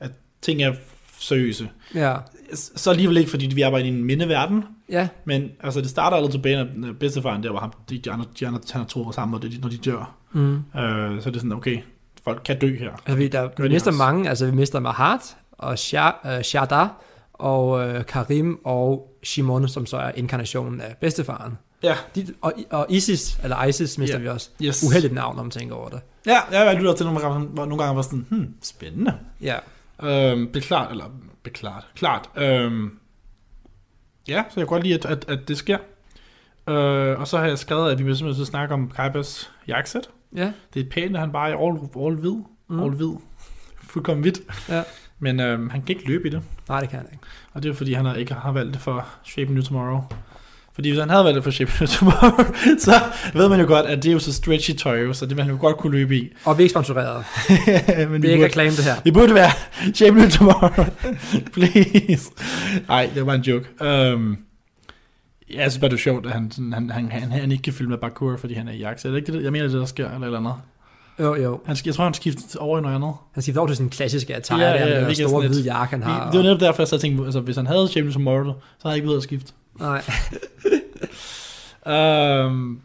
Speaker 6: at ting er seriøse.
Speaker 5: Ja.
Speaker 6: Så alligevel ikke, fordi vi arbejder i en mindeverden,
Speaker 5: Ja, men
Speaker 6: men altså, det starter allerede tilbage, når- når bedstefaren der, hvor ham, de, de andre, de andre han har to år sammen, og det, er de- når de dør.
Speaker 5: Mm.
Speaker 6: Øh, så er det sådan, okay, folk kan dø her.
Speaker 5: altså, vi, der, vi
Speaker 6: de
Speaker 5: mister
Speaker 6: også.
Speaker 5: mange. Altså, vi mister Mahat og Sha- øh, Shada og øh, Karim og Shimon, som så er inkarnationen af bedstefaren.
Speaker 6: Ja,
Speaker 5: De, og, og Isis, eller Isis mister
Speaker 6: Ja.
Speaker 5: vi også.
Speaker 6: yes.
Speaker 5: Uheldigt navn, når man tænker over det.
Speaker 6: Ja, ja, jeg lytter til nogle gange, hvor nogle gange var sådan, hmm, spændende.
Speaker 5: Ja.
Speaker 6: Øhm, beklart, eller beklart, klart. Øhm, ja, så jeg kan godt lide, at, at, at det sker. Øh, og så har jeg skrevet, at vi bliver simpelthen så snakke om Kaibas jakkesæt.
Speaker 5: Ja.
Speaker 6: Det er pænt, at han bare er all, all hvid.
Speaker 5: Mm.
Speaker 6: Mm. All hvid. Fuldkommen hvidt.
Speaker 5: Ja.
Speaker 6: Men øhm, han kan ikke løbe i det.
Speaker 5: Nej, det kan jeg ikke.
Speaker 6: Og det er fordi, han har- ikke har valgt det for Shape New Tomorrow. Fordi hvis han havde valgt det for Shape New Tomorrow, så ved man jo godt, at det er jo så stretchy tøj, så det vil han jo godt kunne løbe i.
Speaker 5: Og vi er ikke sponsoreret.
Speaker 6: Men
Speaker 5: Vi er
Speaker 6: burde-
Speaker 5: ikke reklame det her.
Speaker 6: det burde være Shape New Tomorrow. Please. Nej, det var en joke. Um, ja, jeg synes bare, det er sjovt, at han, sådan- han, han, han, han ikke kan filme med parkour, fordi han er i jakke. Er det ikke det, jeg mener, det der sker, eller et eller andet?
Speaker 5: Jo, jo.
Speaker 6: Han, sk- jeg tror, han skifter over i noget andet.
Speaker 5: Han skifter over til sin klassiske attire,
Speaker 6: Ja,
Speaker 5: ja, ja,
Speaker 6: ja,
Speaker 5: der med
Speaker 6: hvilket
Speaker 5: den store
Speaker 6: sådan
Speaker 5: hvide
Speaker 6: lidt-
Speaker 5: jakke, han har.
Speaker 6: Det var netop derfor, jeg sad og tænkte, altså, hvis han havde Shape New Tomorrow, så havde jeg ikke behøvet at skifte.
Speaker 5: Nej.
Speaker 6: Um,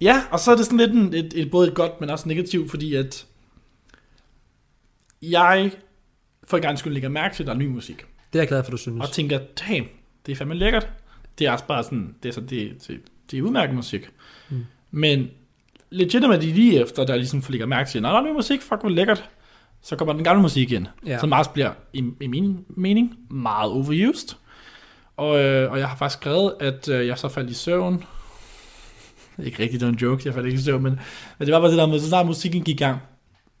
Speaker 6: ja, og så er det sådan lidt en, et, et, både et godt, men også negativt, fordi at jeg for en gang skulle lægge mærke til, at der er ny musik.
Speaker 5: Det er jeg glad for, du synes.
Speaker 6: og tænker, damn, det er fandme lækkert. Det er også bare sådan, det er, så, det, det, det er udmærket musik.
Speaker 5: Mm.
Speaker 6: Mm. Men legitimately lige efter, der ligesom ligger mærke til, nej, der er ny musik, fuck hvor lækkert, så kommer den gamle musik ind,
Speaker 5: Ja.
Speaker 6: ja. som også bliver, i, i min mening, meget overused. Og, øh, og jeg har faktisk skrevet, at øh, jeg så faldt i søvn. Ikke rigtig, det var en joke, jeg faldt ikke i søvn, men, men det var bare det der med, så snart musikken gik i gang,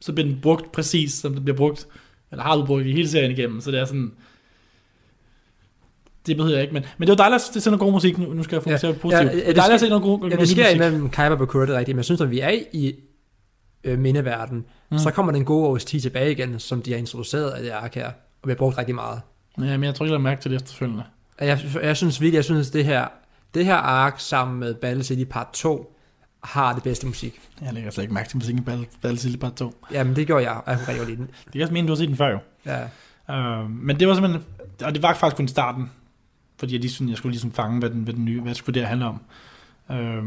Speaker 6: så bliver den brugt præcis, som den bliver brugt, eller har du brugt i hele serien igennem, så det er sådan, det behøver jeg ikke, men, men det var dejligt at se det er sådan noget god musik, nu nu skal jeg fokusere
Speaker 5: Ja,
Speaker 6: ja, på positivt.
Speaker 5: ja,
Speaker 6: Ja,
Speaker 5: ja, det
Speaker 6: det er dejligt at
Speaker 5: sker-
Speaker 6: se noget
Speaker 5: Ja,
Speaker 6: god noget
Speaker 5: det
Speaker 6: ny
Speaker 5: sker
Speaker 6: musik.
Speaker 5: imellem Kaiba og Kurt, det er rigtigt, men jeg synes, at vi er i øh, mindeverden, mm. så kommer den gode års 10 tilbage igen, som de har introduceret af det ark her, og vi har brugt rigtig meget.
Speaker 6: Ja, men jeg tror ikke, jeg mærke til det efterfølgende.
Speaker 5: Og Jeg, jeg synes virkelig, jeg synes, det her, det her ark sammen med Battle City Part 2 har det bedste musik.
Speaker 6: Jeg lægger slet ikke mærke til musikken i Battle- Battlefield Part 2.
Speaker 5: Jamen, det gjorde jeg, og jeg kunne rigtig godt lide den.
Speaker 6: Det kan også mene, du har set den før jo.
Speaker 5: Ja,
Speaker 6: Uh, men det var simpelthen, og det var faktisk kun starten, fordi jeg, lige synes, jeg skulle ligesom fange, hvad den, hvad den nye, hvad skulle det her handle om. Uh,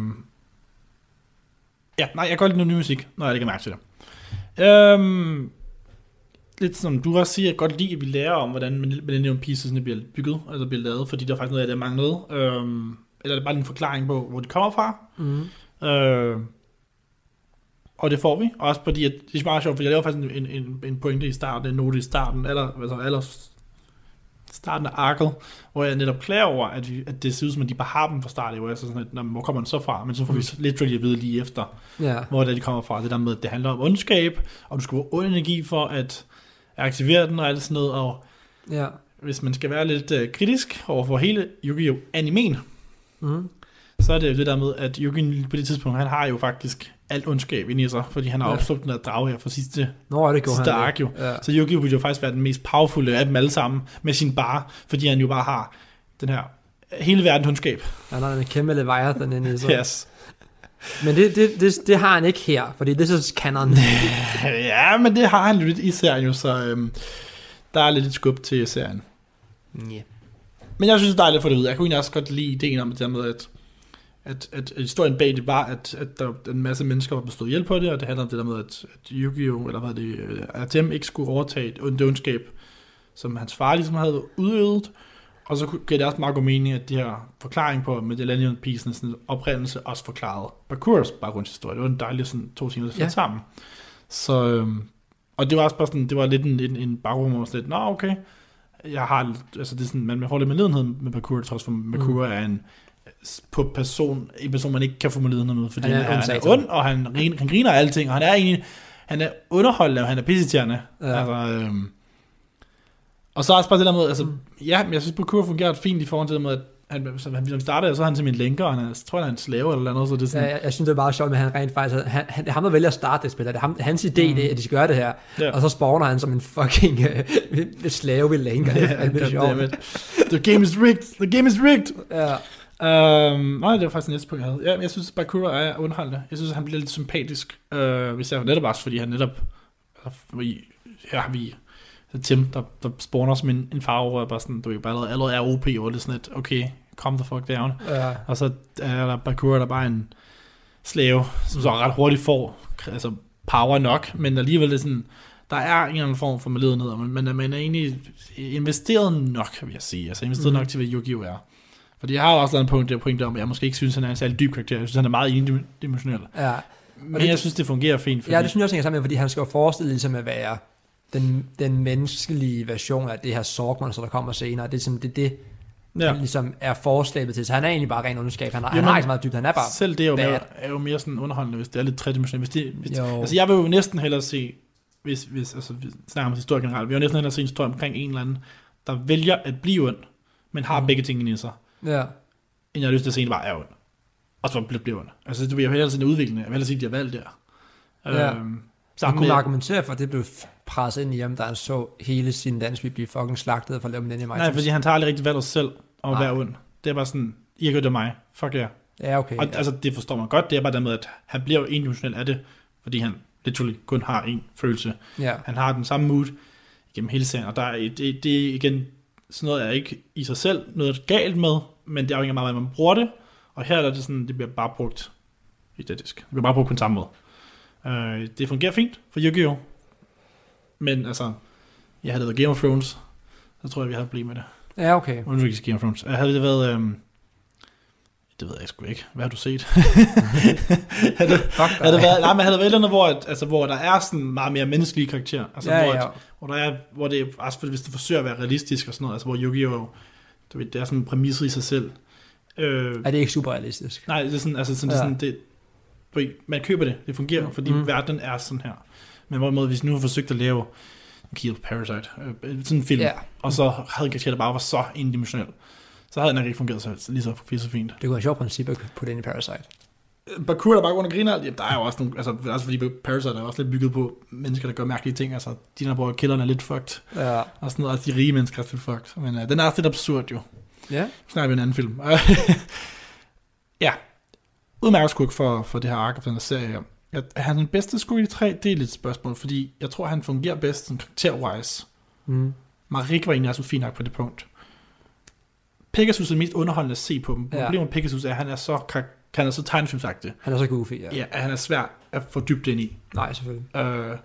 Speaker 6: ja, nej, jeg kan godt lide noget ny musik, når jeg lægger mærke til det. Uh, lidt som du også siger, jeg kan godt lide, at vi lærer om, hvordan Millennium Pieces bliver bygget, altså bliver lavet, fordi der er faktisk noget af det, jeg manglede. Uh, eller er det bare en forklaring på, hvor det kommer fra?
Speaker 5: mm.
Speaker 6: Øh, og det får vi. Også fordi, at det er meget sjovt, for jeg laver faktisk en, en, en pointe i starten, en note i starten, eller, altså, eller starten af arket, hvor jeg netop klager over, at, vi, at det ser ud som, at de bare har dem fra start, hvor jeg så sådan, at, "Nå, men hvor kommer den så fra? Men så får vi så literally at vide lige efter,
Speaker 5: ja.
Speaker 6: hvor det er, de kommer fra. Det der med, at det handler om ondskab, og du skal bruge ond energi for at aktivere den og alt sådan noget, og
Speaker 5: ja.
Speaker 6: hvis man skal være lidt øh, kritisk over for hele Yu-Gi-Oh! animen,
Speaker 5: Mm.
Speaker 6: så er det jo det der med, at Jürgen på det tidspunkt, han har jo faktisk alt ondskab inde i sig, fordi han har
Speaker 5: Ja.
Speaker 6: ja. opslugt den der drage her fra sidste.
Speaker 5: Nå, ja, det gjorde
Speaker 6: Sidste
Speaker 5: han.
Speaker 6: ark jo.
Speaker 5: Ja.
Speaker 6: Så Jürgen ville jo faktisk være den mest powerfulde af dem alle sammen, med sin bare, fordi han jo bare har den her hele verdens ondskab.
Speaker 5: Han har en kæmpe leviathan inde i sig.
Speaker 6: Yes.
Speaker 5: Men det, det, det, det, har han ikke her, fordi det synes canon.
Speaker 6: Ja, men det har han jo lidt i serien jo, så øhm, der er lidt et skub til serien.
Speaker 5: yeah.
Speaker 6: Men jeg synes, det er dejligt at få det ud. Jeg kunne egentlig også godt lide ideen om det der med, at, at, at, at historien bag det var, at, at der var en masse mennesker, der blev slået ihjel på det, og det handler om det der med, at, at Yu-Gi-Oh! eller hvad det øh, Artem ikke skulle overtage et ondt ondskab, som hans far ligesom havde udøvet. Og så kunne- gav det også meget god mening, at det her forklaring på Medellinian Pieces oprindelse også forklarede Bakurs baggrundshistorie. Det var en dejlig sådan, to timer, der
Speaker 5: Ja.
Speaker 6: ja. sammen. Så, øhm, og det var også bare sådan, det var lidt en, en, en baggrund, hvor man var sådan lidt, nå okay, jeg har, lidt- altså det er sådan, man, man får lidt medlidenhed med Bakura, trods for Bakura mm. er en på person, en person, man ikke kan få medlidenhed med, fordi
Speaker 5: Han
Speaker 6: han
Speaker 5: er
Speaker 6: er, han
Speaker 5: ondsatan.
Speaker 6: er ond, og han, rin- han griner af alting, og han er egentlig, han er underholdende, og han er pissetjerne.
Speaker 5: Ja.
Speaker 6: Ja. Altså, øhm, og så også bare det der med, altså, mm. ja, men jeg synes, Bakura fungerer fint i forhold til det med, at han, så han, han starter, så er han simpelthen lænker, og han er, jeg tror, han er en slave eller noget, så det er sådan,
Speaker 5: jeg, jeg, synes, det er meget sjovt, at han rent faktisk... Han, han, det er ham, der vælger at starte det spil, og det er ham, hans idé, mm. det, er, at de skal gøre det her.
Speaker 6: Ja.
Speaker 5: Og så spawner han som en fucking øh, slave ved lænker. Det er fandme sjovt.
Speaker 6: Goddammit. The game is rigged. The game is rigged.
Speaker 5: Ja.
Speaker 6: Um, nej, det var faktisk næste punkt, jeg havde. Ja, men jeg synes, Bakura er øh, underholdende. Jeg synes, han bliver lidt sympatisk. Uh, især netop også, fordi han netop... i- ja, vi, så Tim, der, der spawner som en, en farve, og bare sådan, du er bare allerede, allerede er OP, og det er sådan lidt, okay, kom the fuck down.
Speaker 5: Ja.
Speaker 6: Og så er der Bakura, der bare er en slave, som så ret hurtigt får altså power nok, men alligevel er sådan, der er en eller anden form for medledenhed, og man, man, man er egentlig investeret nok, vil jeg sige. Altså investeret mm. nok til, hvad Yu-Gi-Oh! er. Fordi jeg har jo også lavet en punkt, der point om, at jeg måske ikke synes, han er en særlig dyb karakter. Jeg synes, han er meget endimensionel.
Speaker 5: ja.
Speaker 6: Men
Speaker 5: det-
Speaker 6: jeg synes, det fungerer fint. Fordi,
Speaker 5: Ja, det synes jeg også hænger sammen med, fordi han skal jo forestille ligesom at være den, den menneskelige version af det her sorgmonster, der kommer senere. Det er simpelthen det, det ja.
Speaker 6: ja.
Speaker 5: han ligesom er forslæbet til. Så han er egentlig bare ren ondskab. Han, har, han
Speaker 6: Jamen,
Speaker 5: har ikke så meget dybt. Han er bare...
Speaker 6: Selv det er jo,
Speaker 5: bad.
Speaker 6: mere, er jo mere sådan underholdende, hvis det er lidt tredimensionelt. Hvis det, hvis
Speaker 5: Jo.
Speaker 6: det, altså jeg vil jo næsten hellere se, hvis, hvis altså, vi snakker om historie generelt, vi vil jo næsten hellere se en historie omkring en eller anden, der vælger at blive ond, men
Speaker 5: Mm.
Speaker 6: har begge ting i sig,
Speaker 5: Ja.
Speaker 6: end jeg har lyst til at se en, der bare er ond. Og så bliver, bliver ond. Altså du vil jo hellere se en udvikling, jeg vil hellere se, at de har valgt der.
Speaker 5: Ja.
Speaker 6: Øhm,
Speaker 5: Man
Speaker 6: sammen
Speaker 5: kunne
Speaker 6: med,
Speaker 5: argumentere for, at det blev f- presset ind i ham, da han så hele sin landsby blive fucking slagtet for at lave den i mig.
Speaker 6: nej, fordi han tager aldrig rigtig valget selv om at
Speaker 5: Nej.
Speaker 6: være ond. Det er bare sådan, I har gjort det af mig, fuck jer. Yeah.
Speaker 5: Ja, okay.
Speaker 6: Og
Speaker 5: ja.
Speaker 6: altså, det forstår man godt, det er bare dermed, at han bliver jo endimensionel af det, fordi han literally kun har én følelse.
Speaker 5: ja.
Speaker 6: Han har den samme mood gennem hele serien, og der er, det, det er igen, sådan noget er ikke i sig selv noget galt med, men det afhænger meget af, hvordan man bruger det, og her er det sådan, det bliver bare brugt identisk. Det bliver bare brugt på den samme måde. Øh, det fungerer fint for Yu-Gi-Oh! Men altså, jeg havde lavet Game of Thrones, så tror jeg, vi havde problemer med det.
Speaker 5: ja, okay.
Speaker 6: Undskyld, ikke Game of Thrones. Jeg havde det været... Øhm, det ved jeg sgu ikke. Hvad har du set? havde, det,
Speaker 5: Fuck dig.
Speaker 6: havde det været, nej, men havde det været et eller andet, hvor, et, altså, hvor der er sådan meget mere menneskelige karakterer. Altså,
Speaker 5: ja,
Speaker 6: hvor,
Speaker 5: ja.
Speaker 6: Et, hvor, der er, hvor det er, altså, for hvis du forsøger at være realistisk og sådan noget, altså hvor Yu-Gi-Oh! Du ved, det er sådan en præmisse i sig selv. Øh,
Speaker 5: Er det ikke super realistisk?
Speaker 6: nej, det er sådan, altså sådan,
Speaker 5: Ja.
Speaker 6: ja. det, er sådan, det du ved, man køber det, det fungerer, fordi
Speaker 5: Mm.
Speaker 6: mm. verden er sådan her. Men hvorimod, hvis nu har forsøgt at lave Kill Parasite, øh, sådan en film,
Speaker 5: Ja.
Speaker 6: og så havde en karakter, der bare var så endimensionel. Så havde den nok ikke fungeret så, lige så, lige så fint.
Speaker 5: Det kunne være et sjovt princip at putte ind i Parasite.
Speaker 6: Bakura, Øh, der bare går under og griner, jamen, der er jo også nogle, altså, altså fordi Parasite er også lidt bygget på mennesker, der gør mærkelige ting, altså de der bruger kælderne er lidt fucked,
Speaker 5: Ja.
Speaker 6: og sådan noget, altså de rige mennesker er lidt fucked, men uh, den er også lidt absurd jo.
Speaker 5: Ja.
Speaker 6: Nu snakker vi om en anden film. ja, udmærket skurk for, for det her ark og for den her serie her. Ja, Er han den bedste skurk i de tre? Det er lidt et spørgsmål, fordi jeg tror, han fungerer bedst sådan karakter-wise.
Speaker 5: Mm.
Speaker 6: Marik var egentlig også fin nok på det punkt. Pegasus er det mest underholdende at se på dem.
Speaker 5: Ja.
Speaker 6: Problemet med Pegasus er, at han er så, kar- han er så tegnefilmsagtig,
Speaker 5: Han er så goofy, ja.
Speaker 6: ja. ja, at han er svær at få dybt ind i.
Speaker 5: Nej, selvfølgelig.
Speaker 6: Øh,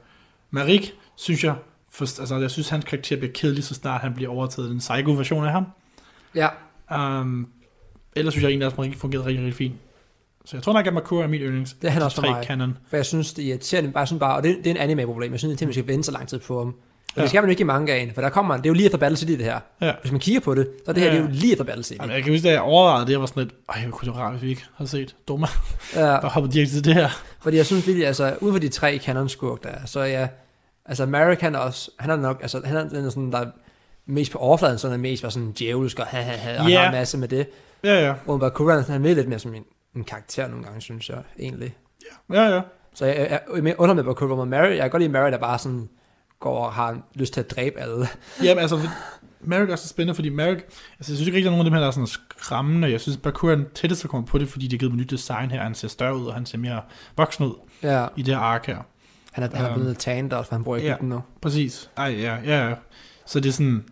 Speaker 6: Marik, synes jeg, for, altså, jeg synes, hans karakter bliver kedelig, så snart han bliver overtaget af den psycho-version af ham.
Speaker 5: Ja.
Speaker 6: Um, ellers synes jeg egentlig, at Marik fungerede rigtig, rigtig fint. Så jeg tror nok, at Makura er min yndlings.
Speaker 5: Det er han
Speaker 6: De
Speaker 5: også for
Speaker 6: tre
Speaker 5: mig.
Speaker 6: Canon.
Speaker 5: For jeg synes, det er irriterende, bare sådan bare, og det, det er en anime-problem, jeg synes, det er at man skal vente så lang tid på ham. Og ja.
Speaker 6: Ja.
Speaker 5: det skal man jo ikke i mangaen, for der kommer, det er jo lige efter Battle City, det her.
Speaker 6: Ja.
Speaker 5: Hvis man kigger på det, så er det her
Speaker 6: Ja.
Speaker 5: det er jo lige efter Battle City.
Speaker 6: Jamen, jeg kan huske, at jeg overvejede det, jeg var sådan lidt, ej, hvor kunne det være rart, hvis vi ikke havde set Doma,
Speaker 5: Ja,
Speaker 6: der hoppede direkte til det her.
Speaker 5: fordi jeg synes virkelig, altså, ud for de tre kanonskurk, der er, så er jeg, altså American også, han er nok, altså han er den er sådan, der er mest på overfladen, sådan er mest var sådan djævelsk, og, ha, ha, ha, og han
Speaker 6: Ja.
Speaker 5: har en masse med det.
Speaker 6: Ja, ja,
Speaker 5: Og Bakuran, han er mere lidt mere som en, en karakter nogle gange, synes jeg, egentlig.
Speaker 6: ja, ja.
Speaker 5: Så jeg, jeg, jeg er mere under med på Cobra Mary. Jeg kan godt lide Mary, der bare sådan går og har lyst til at dræbe alle.
Speaker 6: Jamen altså, Merrick er så spændende, fordi Merrick, altså jeg synes ikke rigtig, der er nogen af dem her, der er sådan skræmmende. Jeg synes, Bakura er den tætteste, der kommer på det, fordi det er givet med nyt design her. Han ser større ud, og han ser mere voksen ud
Speaker 5: Ja,
Speaker 6: i det her ark her.
Speaker 5: han er, han er
Speaker 6: Øhm.
Speaker 5: blevet noget tandet også, for han bor i
Speaker 6: Ja.
Speaker 5: Egypten nu.
Speaker 6: Præcis. Ej, ja, ja, ja. Så det er sådan,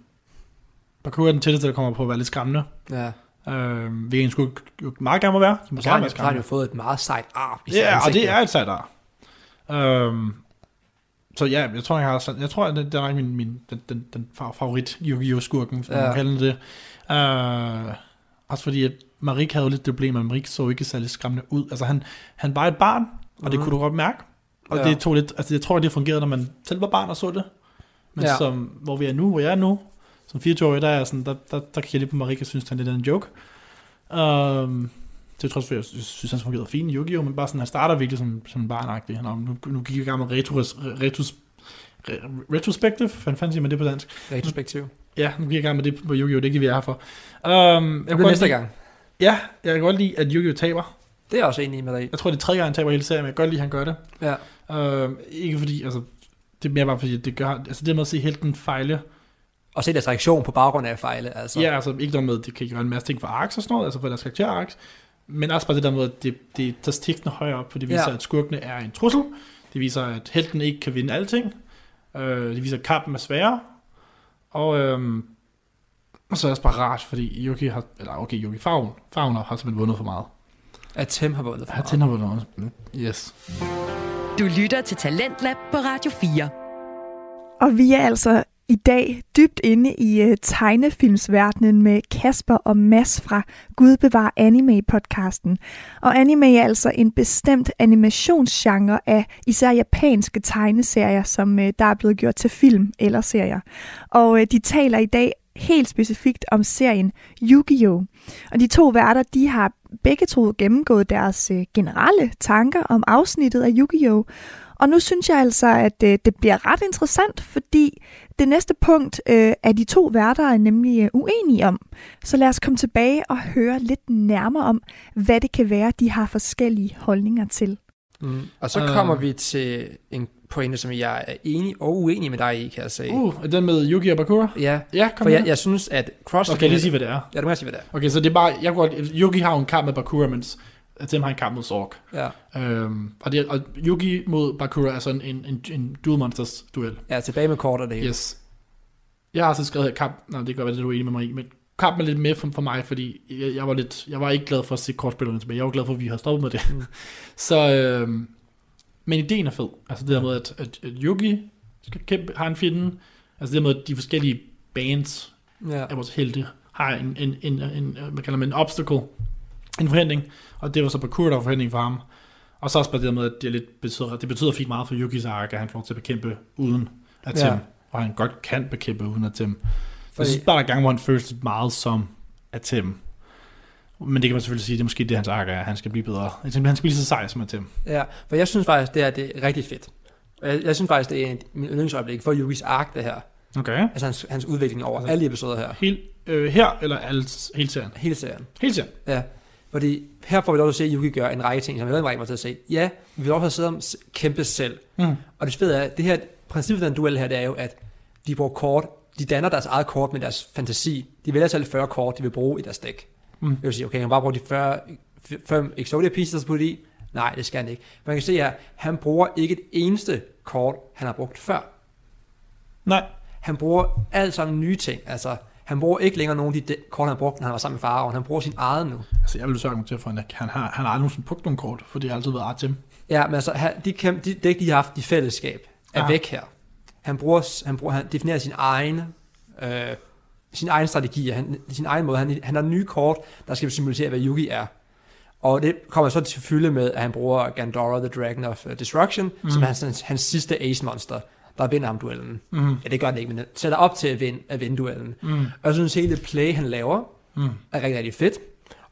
Speaker 6: Bakura er den tætteste, der kommer på at være lidt skræmmende.
Speaker 5: Ja.
Speaker 6: Øh, hvilket han skulle jo meget gerne må være. De må
Speaker 5: Og så har han,
Speaker 6: gerne være
Speaker 5: så har han jo
Speaker 6: skræmmende.
Speaker 5: fået et meget sejt ar i sit
Speaker 6: Ja, og
Speaker 5: ansigt,
Speaker 6: det
Speaker 5: jo.
Speaker 6: er et sejt ar. Øhm, så ja, jeg tror, jeg har sådan- jeg tror, at det, det er nok min, min den, den, den fa- favorit Yu-Gi-Oh! skurken, hvis man
Speaker 5: Ja.
Speaker 6: ja. kalder det. Øh, også fordi, at Marik havde jo lidt det problem, at Marik så ikke særlig skræmmende ud. Altså, han, han var et barn, og det
Speaker 5: Mhm.
Speaker 6: kunne du godt mærke. Og
Speaker 5: Ja.
Speaker 6: ja. det tog lidt, altså jeg tror, det fungerede, når man selv var barn og så det. Men
Speaker 5: Ja.
Speaker 6: ja. som, hvor vi er nu, hvor jeg er nu, som 24-årig, der, er jeg sådan, der, der, der kan jeg lidt på Marik, jeg synes, han er lidt af en joke. Um, det tror jeg, jeg synes, han fungerede fint i Yu-Gi-Oh! Men bare sådan, han starter virkelig som, som en barnagtig. Nå, nu, nu gik jeg i gang med retros, retros, re- retrospective. Hvad fanden siger man det på dansk?
Speaker 5: Retrospektiv.
Speaker 6: Ja, nu gik jeg i gang med det på Yu-Gi-Oh! Det er ikke det, vi er her for. Um,
Speaker 5: Det bliver næste gang.
Speaker 6: Ja, jeg kan godt lide, at Yu-Gi-Oh! taber.
Speaker 5: Det er jeg også enig med dig i.
Speaker 6: Jeg tror, det er tredje gang, han taber hele serien, men jeg kan godt lide, at han gør det.
Speaker 5: Ja.
Speaker 6: Uh, ikke fordi, altså, det er mere bare fordi, at det gør, altså det med at se helten fejle,
Speaker 5: Og se deres reaktion på baggrund af fejle, altså.
Speaker 6: så. ja, altså ikke noget med, at det kan gøre en masse ting for arcs og sådan noget, altså for deres karakterarks, men også bare det der med, at det, det tager stikkene højere op, for det viser,
Speaker 5: Ja.
Speaker 6: ja. at skurkene er en trussel, det viser, at helten ikke kan vinde alting, Øh, det viser, at kampen er sværere. Og øhm, og så er det også bare rart, fordi Yuki har, eller okay, Yuki Favn, Favner har simpelthen vundet for meget.
Speaker 5: At Tim har vundet for
Speaker 6: Ja,
Speaker 5: meget.
Speaker 6: den har vundet også. Yes.
Speaker 2: Du lytter til Talentlab på Radio 4.
Speaker 4: Og vi er altså i dag dybt inde i øh, tegnefilmsverdenen med Kasper og Mads fra Gud bevar anime-podcasten. Og anime er altså en bestemt animationsgenre af især japanske tegneserier, som øh, der er blevet gjort til film eller serier. Og øh, de taler i dag helt specifikt om serien Yu-Gi-Oh! Og de to værter, de har begge to gennemgået deres øh, generelle tanker om afsnittet af Yu-Gi-Oh! Og nu synes jeg altså, at øh, det bliver ret interessant, fordi det næste punkt øh, er de to værter er nemlig øh, uenige om. Så lad os komme tilbage og høre lidt nærmere om, hvad det kan være, de har forskellige holdninger til.
Speaker 5: Mm. Og så
Speaker 6: Øh.
Speaker 5: kommer vi til en pointe, som jeg er enig og uenig med dig i, kan jeg sige.
Speaker 6: Uh, er den med Yuki og Bakura?
Speaker 5: Ja,
Speaker 6: Ja, kom
Speaker 5: for jeg,
Speaker 6: jeg,
Speaker 5: jeg synes, at cross...
Speaker 6: Okay, lige sige, hvad det er.
Speaker 5: Ja, du må gerne sige, hvad det
Speaker 6: Okay, så det er bare, jeg kunne godt, Yuki har jo en kamp med Bakura, mens Tim har en kamp mod Zork.
Speaker 5: er. Ja.
Speaker 6: Øhm, og, det, og Yuki mod Bakura er sådan en, en, en dual monsters duel.
Speaker 5: Ja, tilbage med kort og det hele.
Speaker 6: Yes. Jeg har så skrevet her kamp, nej, det kan godt være, det er du er enig med mig i, men kampen er lidt mere for, for mig, fordi jeg, jeg, var lidt, jeg var ikke glad for at se kortspillerne tilbage. Jeg var glad for, at vi har stoppet med det. Mm. så, øhm, men ideen er fed. Altså det der med, at, at, at Yuki skal kæmpe, har en fjende. Altså det der med, at de forskellige bands
Speaker 5: Ja.
Speaker 6: af vores helte har en, en, en, en, en hvad kalder man en obstacle, en forhindring, og det var så Bakura, der var forhindring for ham. Og så også bare det der med, at det, er lidt betyder, det betyder fint meget for Yukis ark, at han får lov til at bekæmpe uden at Tim,
Speaker 5: Ja.
Speaker 6: ja. og han godt kan bekæmpe uden at Tim. For jeg
Speaker 5: Fordi-
Speaker 6: synes bare, der er gange, hvor han føles lidt meget som at Tim. Men det kan man selvfølgelig sige, det er måske det, hans ark er, at han skal blive bedre. Han skal han skal blive lige så sej som at Tim.
Speaker 5: Ja, for jeg synes faktisk, det her det er rigtig fedt. Og Jeg, jeg synes faktisk, det er en, min yndlingsøjeblik for Yukis ark, det her.
Speaker 6: Okay.
Speaker 5: Altså hans, hans udvikling over alle de episoder her.
Speaker 6: Helt, øh, her, eller alt, hele serien?
Speaker 5: Hele serien.
Speaker 6: Hele serien.
Speaker 5: Ja. Fordi her får vi lov til at se, at Yuki gør en række ting, som jeg ved ikke, mig til at se. Ja, vi vil lov til at sidde og s- kæmpe selv.
Speaker 6: Mm.
Speaker 5: Og det fede er, det her princippet for den duel her, det er jo, at de bruger kort, de danner deres eget kort med deres fantasi. De vælger selv 40 kort, de vil bruge i deres dæk. Mm. Det vil sige, okay, han bare bruger de 40, 5 Exodia pieces, der er puttet i. Nej, det skal han ikke. Man kan se her, han bruger ikke et eneste kort, han har brugt før.
Speaker 6: Nej.
Speaker 5: Han bruger alt sammen nye ting. Altså, han bruger ikke længere nogen af de dæk- kort, han har brugt, når han var sammen med faraoen. Han bruger sin eget nu.
Speaker 6: Altså, jeg vil så argumentere for, at han har, han har aldrig nogensinde pukt nogen kort, for det har altid været Artem.
Speaker 5: Ja, men altså, han, de, kæm, de dæk, de har haft i fællesskab, er
Speaker 6: Ah.
Speaker 5: væk her. Han, bruger, s- han, bruger, han definerer sin egen, øh, sin egen strategi, han, sin egen måde. Han, han har nye kort, der skal symbolisere, hvad Yugi er. Og det kommer så til fylde med, at han bruger Gandora, the Dragon of øh, Destruction, mm. som er hans, hans, hans sidste ace-monster, der vinder ham duellen. Mm. Ja, det gør det ikke, men det sætter op til at vinde, at vinde duellen. Mm. Og jeg synes, hele det play, han laver, mm. er rigtig, rigtig fedt.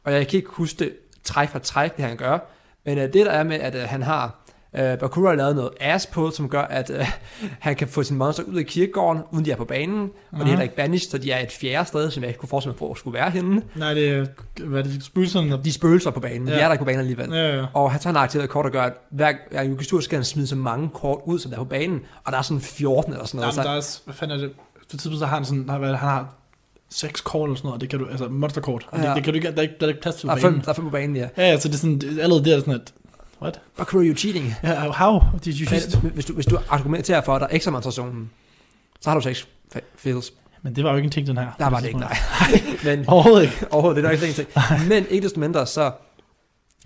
Speaker 5: Og jeg kan ikke huske det træk for træk, det han gør. Men øh, det der er med, at øh, han har øh, Bakura har lavet noget ass på, som gør, at øh, han kan få sin monster ud af kirkegården, uden de er på banen. Og de er heller ikke banished, så de er et fjerde sted, som jeg ikke kunne forestille mig, hvor skulle være henne.
Speaker 6: Nej, det er, hvad er det, spøgelserne? der-
Speaker 5: De er spøgelser på banen, men ja. de
Speaker 6: Ja.
Speaker 5: er der ikke på banen alligevel.
Speaker 6: Ja, ja.
Speaker 5: Og han tager en aktiveret kort og gør, at hver, hver Yugistur skal han smide så mange kort ud, som der er på banen. Og der er sådan 14 eller sådan
Speaker 6: Nej,
Speaker 5: noget.
Speaker 6: men der er,
Speaker 5: så,
Speaker 6: også- hvad fanden er det? For tidspunkt så har han sådan, har, hvad, er det, han har seks kort eller sådan noget, og det kan du, altså monsterkort, ja.
Speaker 5: Ja.
Speaker 6: det, det, kan du ikke, der er ikke, der er ikke plads til
Speaker 5: der,
Speaker 6: på
Speaker 5: er fem,
Speaker 6: banen.
Speaker 5: der er fem på banen, ja.
Speaker 6: Ja, ja, så det er sådan, det, allerede der er sådan, at, what?
Speaker 5: Bakura, you're cheating.
Speaker 6: Ja, how? Did you just...
Speaker 5: Men, hvis, du, hvis du argumenterer for, at der er ekstra monstrationen, så har du seks fa- fails.
Speaker 6: Men det var jo ikke en ting, den her.
Speaker 5: Der var det ikke, nej. Men
Speaker 6: Overhovedet ikke.
Speaker 5: overhovedet, det er nok ikke en ting. Men ikke desto mindre, så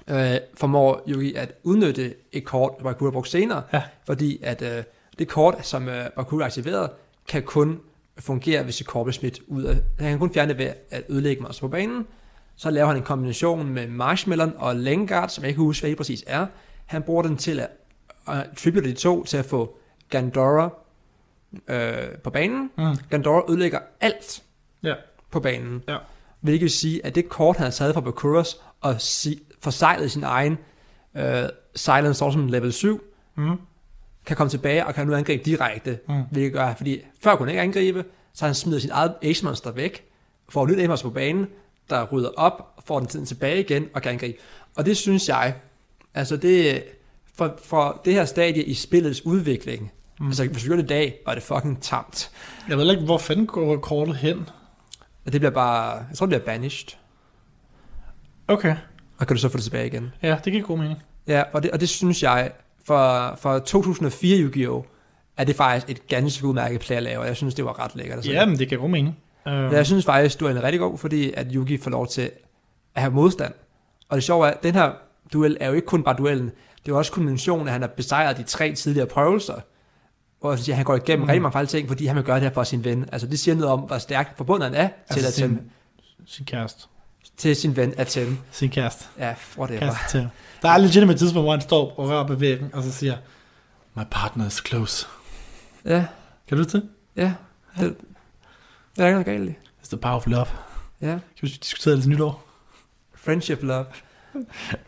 Speaker 5: øh, formår Yugi at udnytte et kort, der Bakura brugte senere,
Speaker 6: Ja.
Speaker 5: fordi at øh, det kort, som øh, Bakura aktiverede, kan kun fungere, hvis et kort bliver smidt ud af... Han kan kun fjerne det ved at ødelægge monster på banen. Så laver han en kombination med Marshmallow og Lengard, som jeg ikke kan huske, hvad helt præcis er. Han bruger den til at uh, tribute de to til at få Gandora øh, på banen.
Speaker 6: Mm.
Speaker 5: Gandora ødelægger alt
Speaker 6: Ja.
Speaker 5: på banen.
Speaker 6: Ja.
Speaker 5: Hvilket vil sige, at det kort, han havde taget fra Bakuras og si- forsejlet sin egen øh, Silence Awesome level 7,
Speaker 6: Mm.
Speaker 5: kan komme tilbage og kan nu angribe direkte.
Speaker 6: Mm.
Speaker 5: Hvilket gør, fordi før kunne han ikke angribe, så han smider sin eget Ace Monster væk, får et nyt Ace Monster på banen, der rydder op, får den tiden tilbage igen og kan angribe. Og det synes jeg, altså det, for, for det her stadie i spillets udvikling, mm. altså hvis vi gjorde det i dag, var det fucking tamt.
Speaker 6: Jeg ved heller ikke, hvor fanden går kortet hen.
Speaker 5: Og det bliver bare, jeg tror det bliver banished.
Speaker 6: Okay.
Speaker 5: Og kan du så få det tilbage igen?
Speaker 6: Ja, det giver god mening.
Speaker 5: Ja, og det, og det synes jeg, for, for 2004 Yu-Gi-Oh! at det faktisk et ganske udmærket playerlav, og jeg synes, det var ret lækkert. at se.
Speaker 6: Ja, men det kan god mening. Uh,
Speaker 5: Men jeg synes faktisk, duellen er rigtig god, fordi at Yugi får lov til at have modstand. Og det sjove er, at den her duel er jo ikke kun bare duellen. Det er jo også kombinationen, at han har besejret de tre tidligere prøvelser. Og så siger, at han går igennem mm. rigtig mange fejlting, fordi han vil gøre det her for sin ven. Altså det siger noget om, hvor stærkt forbundet han er til,
Speaker 6: Altså,
Speaker 5: altså, at
Speaker 6: sin,
Speaker 5: sin...
Speaker 6: sin kæreste.
Speaker 5: til sin ven at tæmme.
Speaker 6: Sin kæreste.
Speaker 5: Ja, whatever.
Speaker 6: Kæreste til. Der er legitimt et tidspunkt, hvor han står og rører på væggen, og så siger, My partner is close.
Speaker 5: Ja,
Speaker 6: Kan du til?
Speaker 5: ja. Det, det er ikke noget galt i.
Speaker 6: It's the power of love.
Speaker 5: Ja,
Speaker 6: Kan vi diskutere det til nytår?
Speaker 5: friendship love.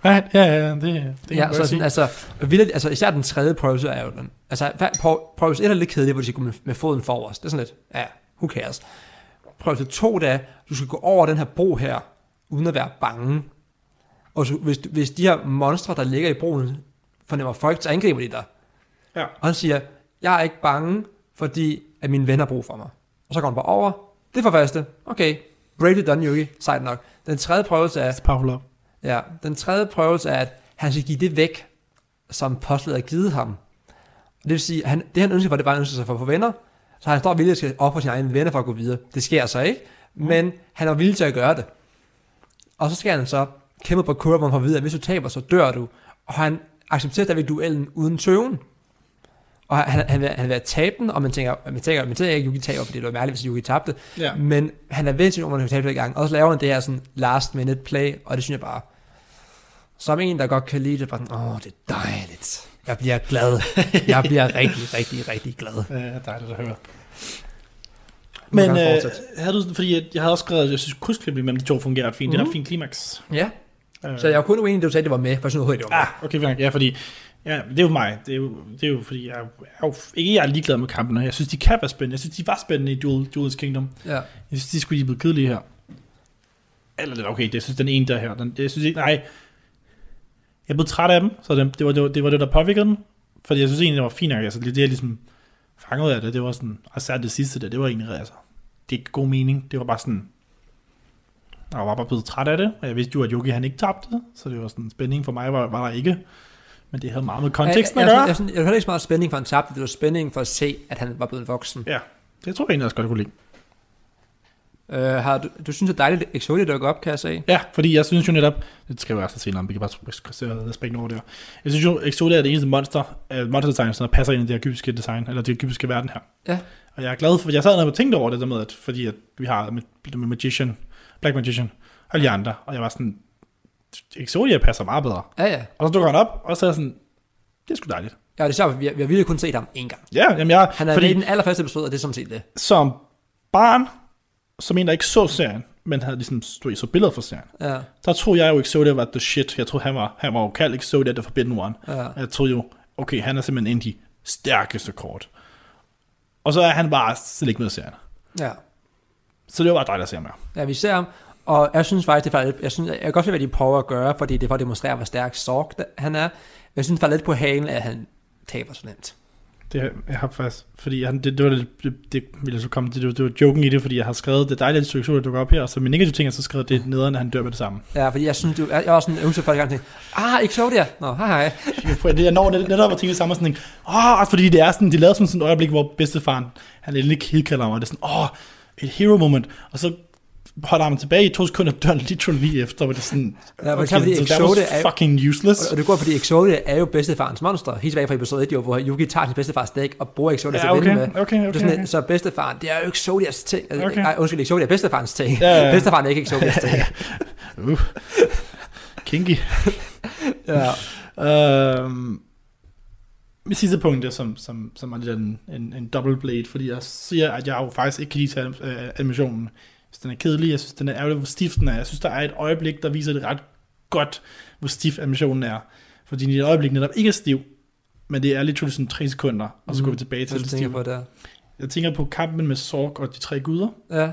Speaker 6: Right? Ja, ja, ja, det, det
Speaker 5: Ja, så sådan,
Speaker 6: sådan,
Speaker 5: altså, vildt, altså, især den tredje prøvelse er jo den. Altså, hver- prøv- prøvelse 1 er lidt kedelig, hvor du skal gå med, med foden forrest. Det er sådan lidt, ja, who cares. Prøvelse 2, det er, du skal gå over den her bro her, uden at være bange. Og så, hvis, hvis de her monstre, der ligger i broen, fornemmer folk, så angriber de dig.
Speaker 6: Ja.
Speaker 5: Og han siger, jeg er ikke bange, fordi at mine venner har brug for mig. Og så går han bare over. Det er for første. Okay, bravely done, Yuki. Sejt nok. Den tredje prøvelse er,
Speaker 6: It's the power of love.
Speaker 5: Ja, den tredje prøvelse er, at han skal give det væk, som postlet har givet ham. Det vil sige, at han, det han ønskede for, det var, at han ønskede sig for at få venner, så han står villig til at ofre sine egne venner for at gå videre. Det sker så ikke, men han er villig til at gøre det. Og så skal han så kæmpe på kurven, hvor han får at vide, at hvis du taber, så dør du. Og han accepterer stadigvæk duellen uden tøven. Og han, han, vil, han vil være taben, og man tænker, man tænker, man tænker ikke, at Yuki taber, fordi det var mærkeligt, hvis Yuki tabte.
Speaker 6: Ja.
Speaker 5: Men han er ved til, om han vil tabe det gang. Og så laver han det her sådan last minute play, og det synes jeg bare, som en, der godt kan lide det, bare sådan, åh, det er dejligt. Jeg bliver glad. Jeg bliver rigtig, rigtig, rigtig glad.
Speaker 6: Ja, Øh, dejligt at høre.
Speaker 5: Du må
Speaker 6: Men
Speaker 5: gerne
Speaker 6: øh,
Speaker 5: fortsætte.
Speaker 6: havde du, sådan- fordi jeg, jeg havde også skrevet, at jeg synes krydsklippet mellem de to fungerer ret fint. Mm-hmm. Det er
Speaker 5: Mhm.
Speaker 6: ret fint klimaks.
Speaker 5: Ja,
Speaker 6: Øh,
Speaker 5: så jeg var kun uenig, da du sagde, at det var med, for jeg synes overhovedet, det var med.
Speaker 6: Ah, okay, fair nok. ja, fordi ja, det er jo mig. Det er jo, det er jo fordi, jeg er jo, ikke jeg er ligeglad med kampene. Jeg synes, de kan være spændende. Jeg synes, de var spændende i Duel, Duel's Kingdom.
Speaker 5: Ja.
Speaker 6: Jeg synes, de skulle lige blive kedelige her. Eller det er okay, det jeg synes den ene der her. Den, jeg synes ikke, nej. Jeg blev træt af dem, så den, det, var, det, var, det var det, der påvirkede dem. Fordi jeg synes egentlig, det var fint nok. Altså, det, jeg ligesom fangede ud af det, det var sådan, og særligt det sidste der, det var egentlig, altså, det er god mening. Det var bare sådan, jeg var bare blevet træt af det, og jeg vidste jo, at Yogi han ikke tabte, så det var sådan, spænding for mig var, var der ikke. Men det havde meget med konteksten
Speaker 5: jeg,
Speaker 6: at
Speaker 5: jeg,
Speaker 6: gøre.
Speaker 5: jeg, jeg, jeg, jeg, jeg, jeg, ikke så meget spænding for, at han tabte. Det var spænding for at se, at han var blevet voksen.
Speaker 6: Ja, det tror jeg egentlig også godt, jeg kunne lide.
Speaker 5: Øh, har du, du synes, det er dejligt, at Exodia dukker op, kan jeg sige?
Speaker 6: Ja, fordi jeg synes jo netop, det skal jo være så senere, vi kan bare springe- springe over det her. Jeg synes jo, Exodia er det eneste monster, uh, monsterdesign, som passer ind i det her egyptiske design, eller det egyptiske verden her.
Speaker 5: Ja.
Speaker 6: Og jeg er glad for, jeg sad og tænkte over det der med, at, fordi at vi har med, med Magician, Black Magician og de andre, og jeg var sådan, Exodia passer meget bedre.
Speaker 5: Ja, ja.
Speaker 6: Og så dukker han op, og så er jeg sådan, det er sgu dejligt.
Speaker 5: Ja, og det er sjovt, for vi har, vi har virkelig kun set ham én gang.
Speaker 6: Ja, jamen jeg,
Speaker 5: Han er Fordi...
Speaker 6: fordi
Speaker 5: med i den allerførste episode, og det er sådan set det.
Speaker 6: som barn, som en, der ikke så serien, men havde ligesom, du ved, så billeder fra serien,
Speaker 5: Ja.
Speaker 6: der troede jeg jo ikke, Exodia var the shit. Jeg troede, han var, han var jo kaldt Exodia, The Forbidden One.
Speaker 5: Ja.
Speaker 6: Jeg troede jo, okay, han er simpelthen en af de stærkeste kort. Og så er han bare slet ikke med i serien.
Speaker 5: ja.
Speaker 6: Så det var bare dejligt at se ham her.
Speaker 5: Ja, vi ser ham. Og jeg synes faktisk, det er faktisk, jeg, synes, jeg kan godt se, hvad de prøver at gøre, fordi det er for at demonstrere, hvor stærk Sorg da- han er. Men Jeg synes faktisk lidt på halen, at han taber så nemt.
Speaker 6: Det jeg har faktisk, fordi han, det, det, var, det, det, det, ville jeg så komme til, det, det var joken i det, fordi jeg har skrevet, det er dejligt, at Exodia dukker op her, og så min negative ting, jeg så skrevet, det er nederen, at han dør med det samme.
Speaker 5: Ja, fordi jeg synes, du, jeg, jeg var sådan øvelse for gang tænkte, ah, Exodia, nå, hej, hej.
Speaker 6: det, jeg når net- netop at tænke det samme, og sådan, tænke, åh, også fordi det er sådan, de lavede sådan, sådan et øjeblik, hvor bedstefaren, han endelig kildkalder mig, og det er sådan, åh, et hero moment, og så holder ham tilbage i to sekunder, dør literally lige efter, hvor det er sådan,
Speaker 5: Ja, for eksempel,
Speaker 6: so
Speaker 5: fordi
Speaker 6: that was
Speaker 5: Exodia er-
Speaker 6: fucking useless.
Speaker 5: Og, og det går, fordi Exodia er jo bedstefarens monster. Helt tilbage fra episode 1, jo, hvor Yuki tager sin bedstefars dæk og bruger Exodia
Speaker 6: Ja,
Speaker 5: til at vinde
Speaker 6: okay,
Speaker 5: med.
Speaker 6: okay, okay,
Speaker 5: det er sådan,
Speaker 6: okay.
Speaker 5: Så bedstefaren, det er jo Exodias ting. Altså,
Speaker 6: Okay.
Speaker 5: okay. Nej, undskyld, Exodia er bedstefarens ting.
Speaker 6: Ja,
Speaker 5: Ja,
Speaker 6: ja.
Speaker 5: ja. Bedstefaren er ikke Exodias ting.
Speaker 6: Uh, kinky.
Speaker 5: ja.
Speaker 6: Øhm, mit sidste punkt er, som, som, som er lidt en, en, en double blade, fordi jeg siger, at jeg jo faktisk ikke kan lide til, øh, animationen. Jeg synes, den er kedelig, jeg synes, den er ærgerlig, hvor stift den er. Jeg synes, der er et øjeblik, der viser det ret godt, hvor stift animationen er. Fordi den i et øjeblik netop ikke er stiv, men det er lidt sådan tre sekunder, og så går vi tilbage
Speaker 5: Mhm. Hvad
Speaker 6: til
Speaker 5: du
Speaker 6: det
Speaker 5: tænker på
Speaker 6: stive.
Speaker 5: der?
Speaker 6: Jeg tænker på kampen med Sork og de tre guder,
Speaker 5: Ja.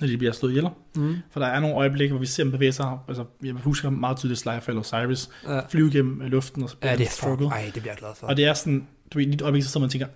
Speaker 6: når de bliver slået ihjel.
Speaker 5: Mm.
Speaker 6: For der er nogle øjeblikke, hvor vi ser dem bevæge sig. Altså, jeg husker meget tydeligt Slyfall og Cyrus
Speaker 5: Ja.
Speaker 6: flyve gennem øh, luften, og så bliver
Speaker 5: ja,
Speaker 6: han
Speaker 5: det er
Speaker 6: trukket.
Speaker 5: fuck. Ej, det bliver jeg glad for.
Speaker 6: Og det er sådan, du ved, lige et øjeblik, så sidder man og tænker,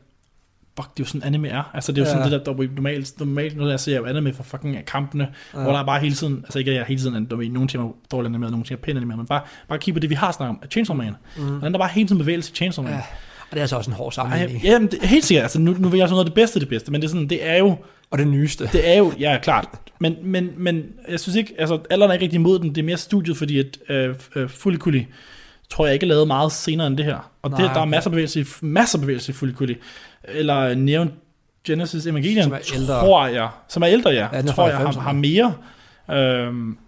Speaker 6: fuck, det er jo sådan anime er. Altså det er jo sådan
Speaker 5: Ja.
Speaker 6: det der, der er jo normalt, normalt, når jeg ser anime for fucking øh, kampene, ja.
Speaker 5: Ja.
Speaker 6: hvor der er bare hele tiden, altså ikke at jeg hele tiden, er- du ved, nogle timer dårligt animeret, nogle timer pænt animeret, men bare, bare kig på det, vi har snakket om, Chainsaw Man. Mm. Hvordan der bare hele tiden bevægelse i Chainsaw Man. Ja.
Speaker 5: Ja. Og det er altså også en hård sammenligning.
Speaker 6: Ej, jamen, det, helt sikkert. Altså, nu, nu vil jeg sådan noget af det bedste af det bedste, men det er, sådan, det er jo...
Speaker 5: Og det nyeste. Det,
Speaker 6: Det er jo, ja, klart. Men, men, men jeg synes ikke, altså alderen er ikke rigtig imod den. Det er mere studiet, fordi at øh, øh, Fuliculi, tror jeg ikke er lavet meget senere end det her. Og det,
Speaker 5: Nej,
Speaker 6: der er
Speaker 5: okay.
Speaker 6: masser af bevægelse, i- masser af bevægelse i Fuliculi. Eller Neon Genesis Evangelion,
Speaker 5: Som er ældre.
Speaker 6: tror jeg. Som er ældre, ja.
Speaker 5: Ja, den er fra
Speaker 6: tror jeg har,
Speaker 5: 90'erne.
Speaker 6: har mere. Øhm,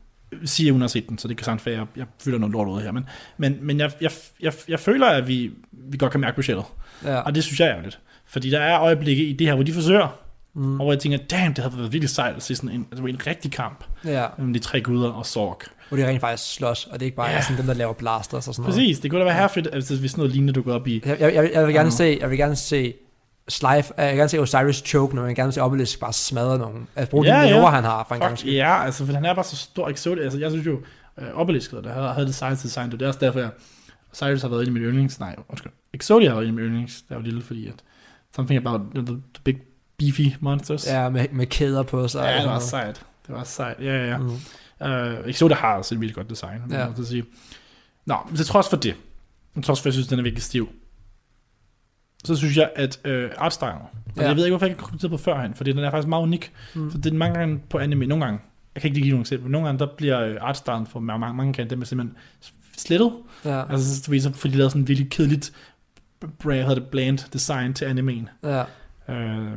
Speaker 6: siger hun har set den, så det kan sagtens være, at jeg, jeg fylder noget lort ud her. Men, men, men jeg, jeg, jeg, jeg, føler, at vi, vi godt kan mærke budgettet.
Speaker 5: ja.
Speaker 6: Og det synes jeg er ærgerligt. Fordi der er øjeblikke i det her, hvor de forsøger. Mm. Og hvor jeg tænker, damn, det havde været virkelig sejt at se sådan en, altså en rigtig kamp
Speaker 5: ja.
Speaker 6: mellem de tre guder og Sorg.
Speaker 5: Hvor det rent faktisk slås, og det er ikke bare
Speaker 6: Ja.
Speaker 5: ja. sådan dem, der laver blasters og sådan noget.
Speaker 6: Præcis, det kunne da være herfedt, altså, hvis sådan noget lignende dukker op i.
Speaker 5: Jeg, jeg, jeg, jeg vil gerne
Speaker 6: Mm.
Speaker 5: se, jeg vil gerne se Slife, jeg vil gerne se Osiris choke, når jeg vil gerne se Obelisk bare smadre nogen. Altså bruge
Speaker 6: Ja,
Speaker 5: de
Speaker 6: ja.
Speaker 5: manøvrer, han har for en gang
Speaker 6: Fuck, ja, altså, for han er bare så stor exotic. Altså, jeg synes jo, øh, Obelisk, der havde, havde det sejeste design, og det er også derfor, jeg, Cyrus har været en af mine yndlings, nej, undskyld, Exodia har været en af mine yndlings, der var lille, fordi at, something about the, the big beefy monsters.
Speaker 5: Ja, med, med kæder på sig. og
Speaker 6: Ja, det
Speaker 5: sådan
Speaker 6: var
Speaker 5: noget.
Speaker 6: sejt. Det var sejt, ja, ja, ja. Mm. Uh, Exodia har også et virkelig godt design, må
Speaker 5: Ja.
Speaker 6: jeg sige. Nå, men til trods for det, til trods for, at jeg synes, den er virkelig stiv, så synes jeg, at øh, artstylen, og
Speaker 5: Ja.
Speaker 6: jeg ved ikke, hvorfor jeg ikke har kommenteret på førhen, fordi den er faktisk meget unik, mm. for det er mange gange på anime, nogle gange, jeg kan ikke lige give nogen eksempel, men nogle gange, der bliver øh, artstylen for mange, mange, mange kan, den er simpelthen slettet,
Speaker 5: Ja,
Speaker 6: altså, så- du ved, så får de lavet sådan en virkelig kedeligt, hvad hedder det, bland design til animeen.
Speaker 5: ja.
Speaker 6: Øh,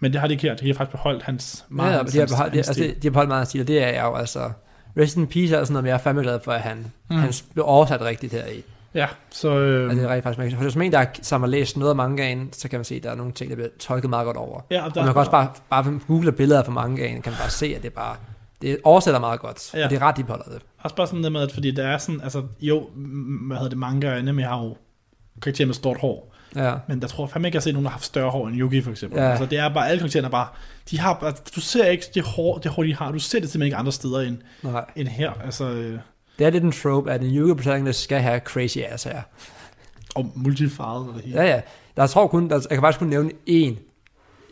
Speaker 6: men det har de ikke her, de har faktisk beholdt hans
Speaker 5: Meget, ja,
Speaker 6: hans-
Speaker 5: de, har
Speaker 6: hans-
Speaker 5: beholdt, de,
Speaker 6: hans
Speaker 5: altså,
Speaker 6: stil.
Speaker 5: de, de har beholdt meget af stil, og det er jeg jo altså. Rest in Peace er sådan noget, men jeg er fandme glad for, at han, mm. han blev oversat rigtigt her i.
Speaker 6: Ja, så... Øh,
Speaker 5: Altså, det er rent faktisk mærkeligt. For hvis man er en, der som har læst noget af mangaen, så kan man se, at der er nogle ting, der bliver tolket meget godt over.
Speaker 6: Ja, og
Speaker 5: og,
Speaker 6: der-
Speaker 5: og man kan også bare, bare hvis man googler billeder fra mangaen, kan man bare se, at det bare det oversætter meget godt.
Speaker 6: Ja.
Speaker 5: Ja. Og det er ret, de beholder det.
Speaker 6: også bare sådan det med, at fordi der er sådan... Altså, jo, m- hvad hedder det, manga og anime har jo karakterer med stort hår.
Speaker 5: Ja.
Speaker 6: Men der tror jeg fandme ikke, at jeg har set nogen, der har haft større hår end Yugi, for eksempel.
Speaker 5: Ja.
Speaker 6: Altså, det er bare... Alle karaktererne er bare... De har, bare- du ser ikke det hår, det hår, de har. Du ser det simpelthen ikke andre steder end,
Speaker 5: Nej.
Speaker 6: end her. Altså, øh,
Speaker 5: Det er lidt en trope, at en juleprotagonist skal have crazy ass her.
Speaker 6: og multifarvet og det hele.
Speaker 5: Ja, ja. Der tror kun, der, jeg kan faktisk kun nævne én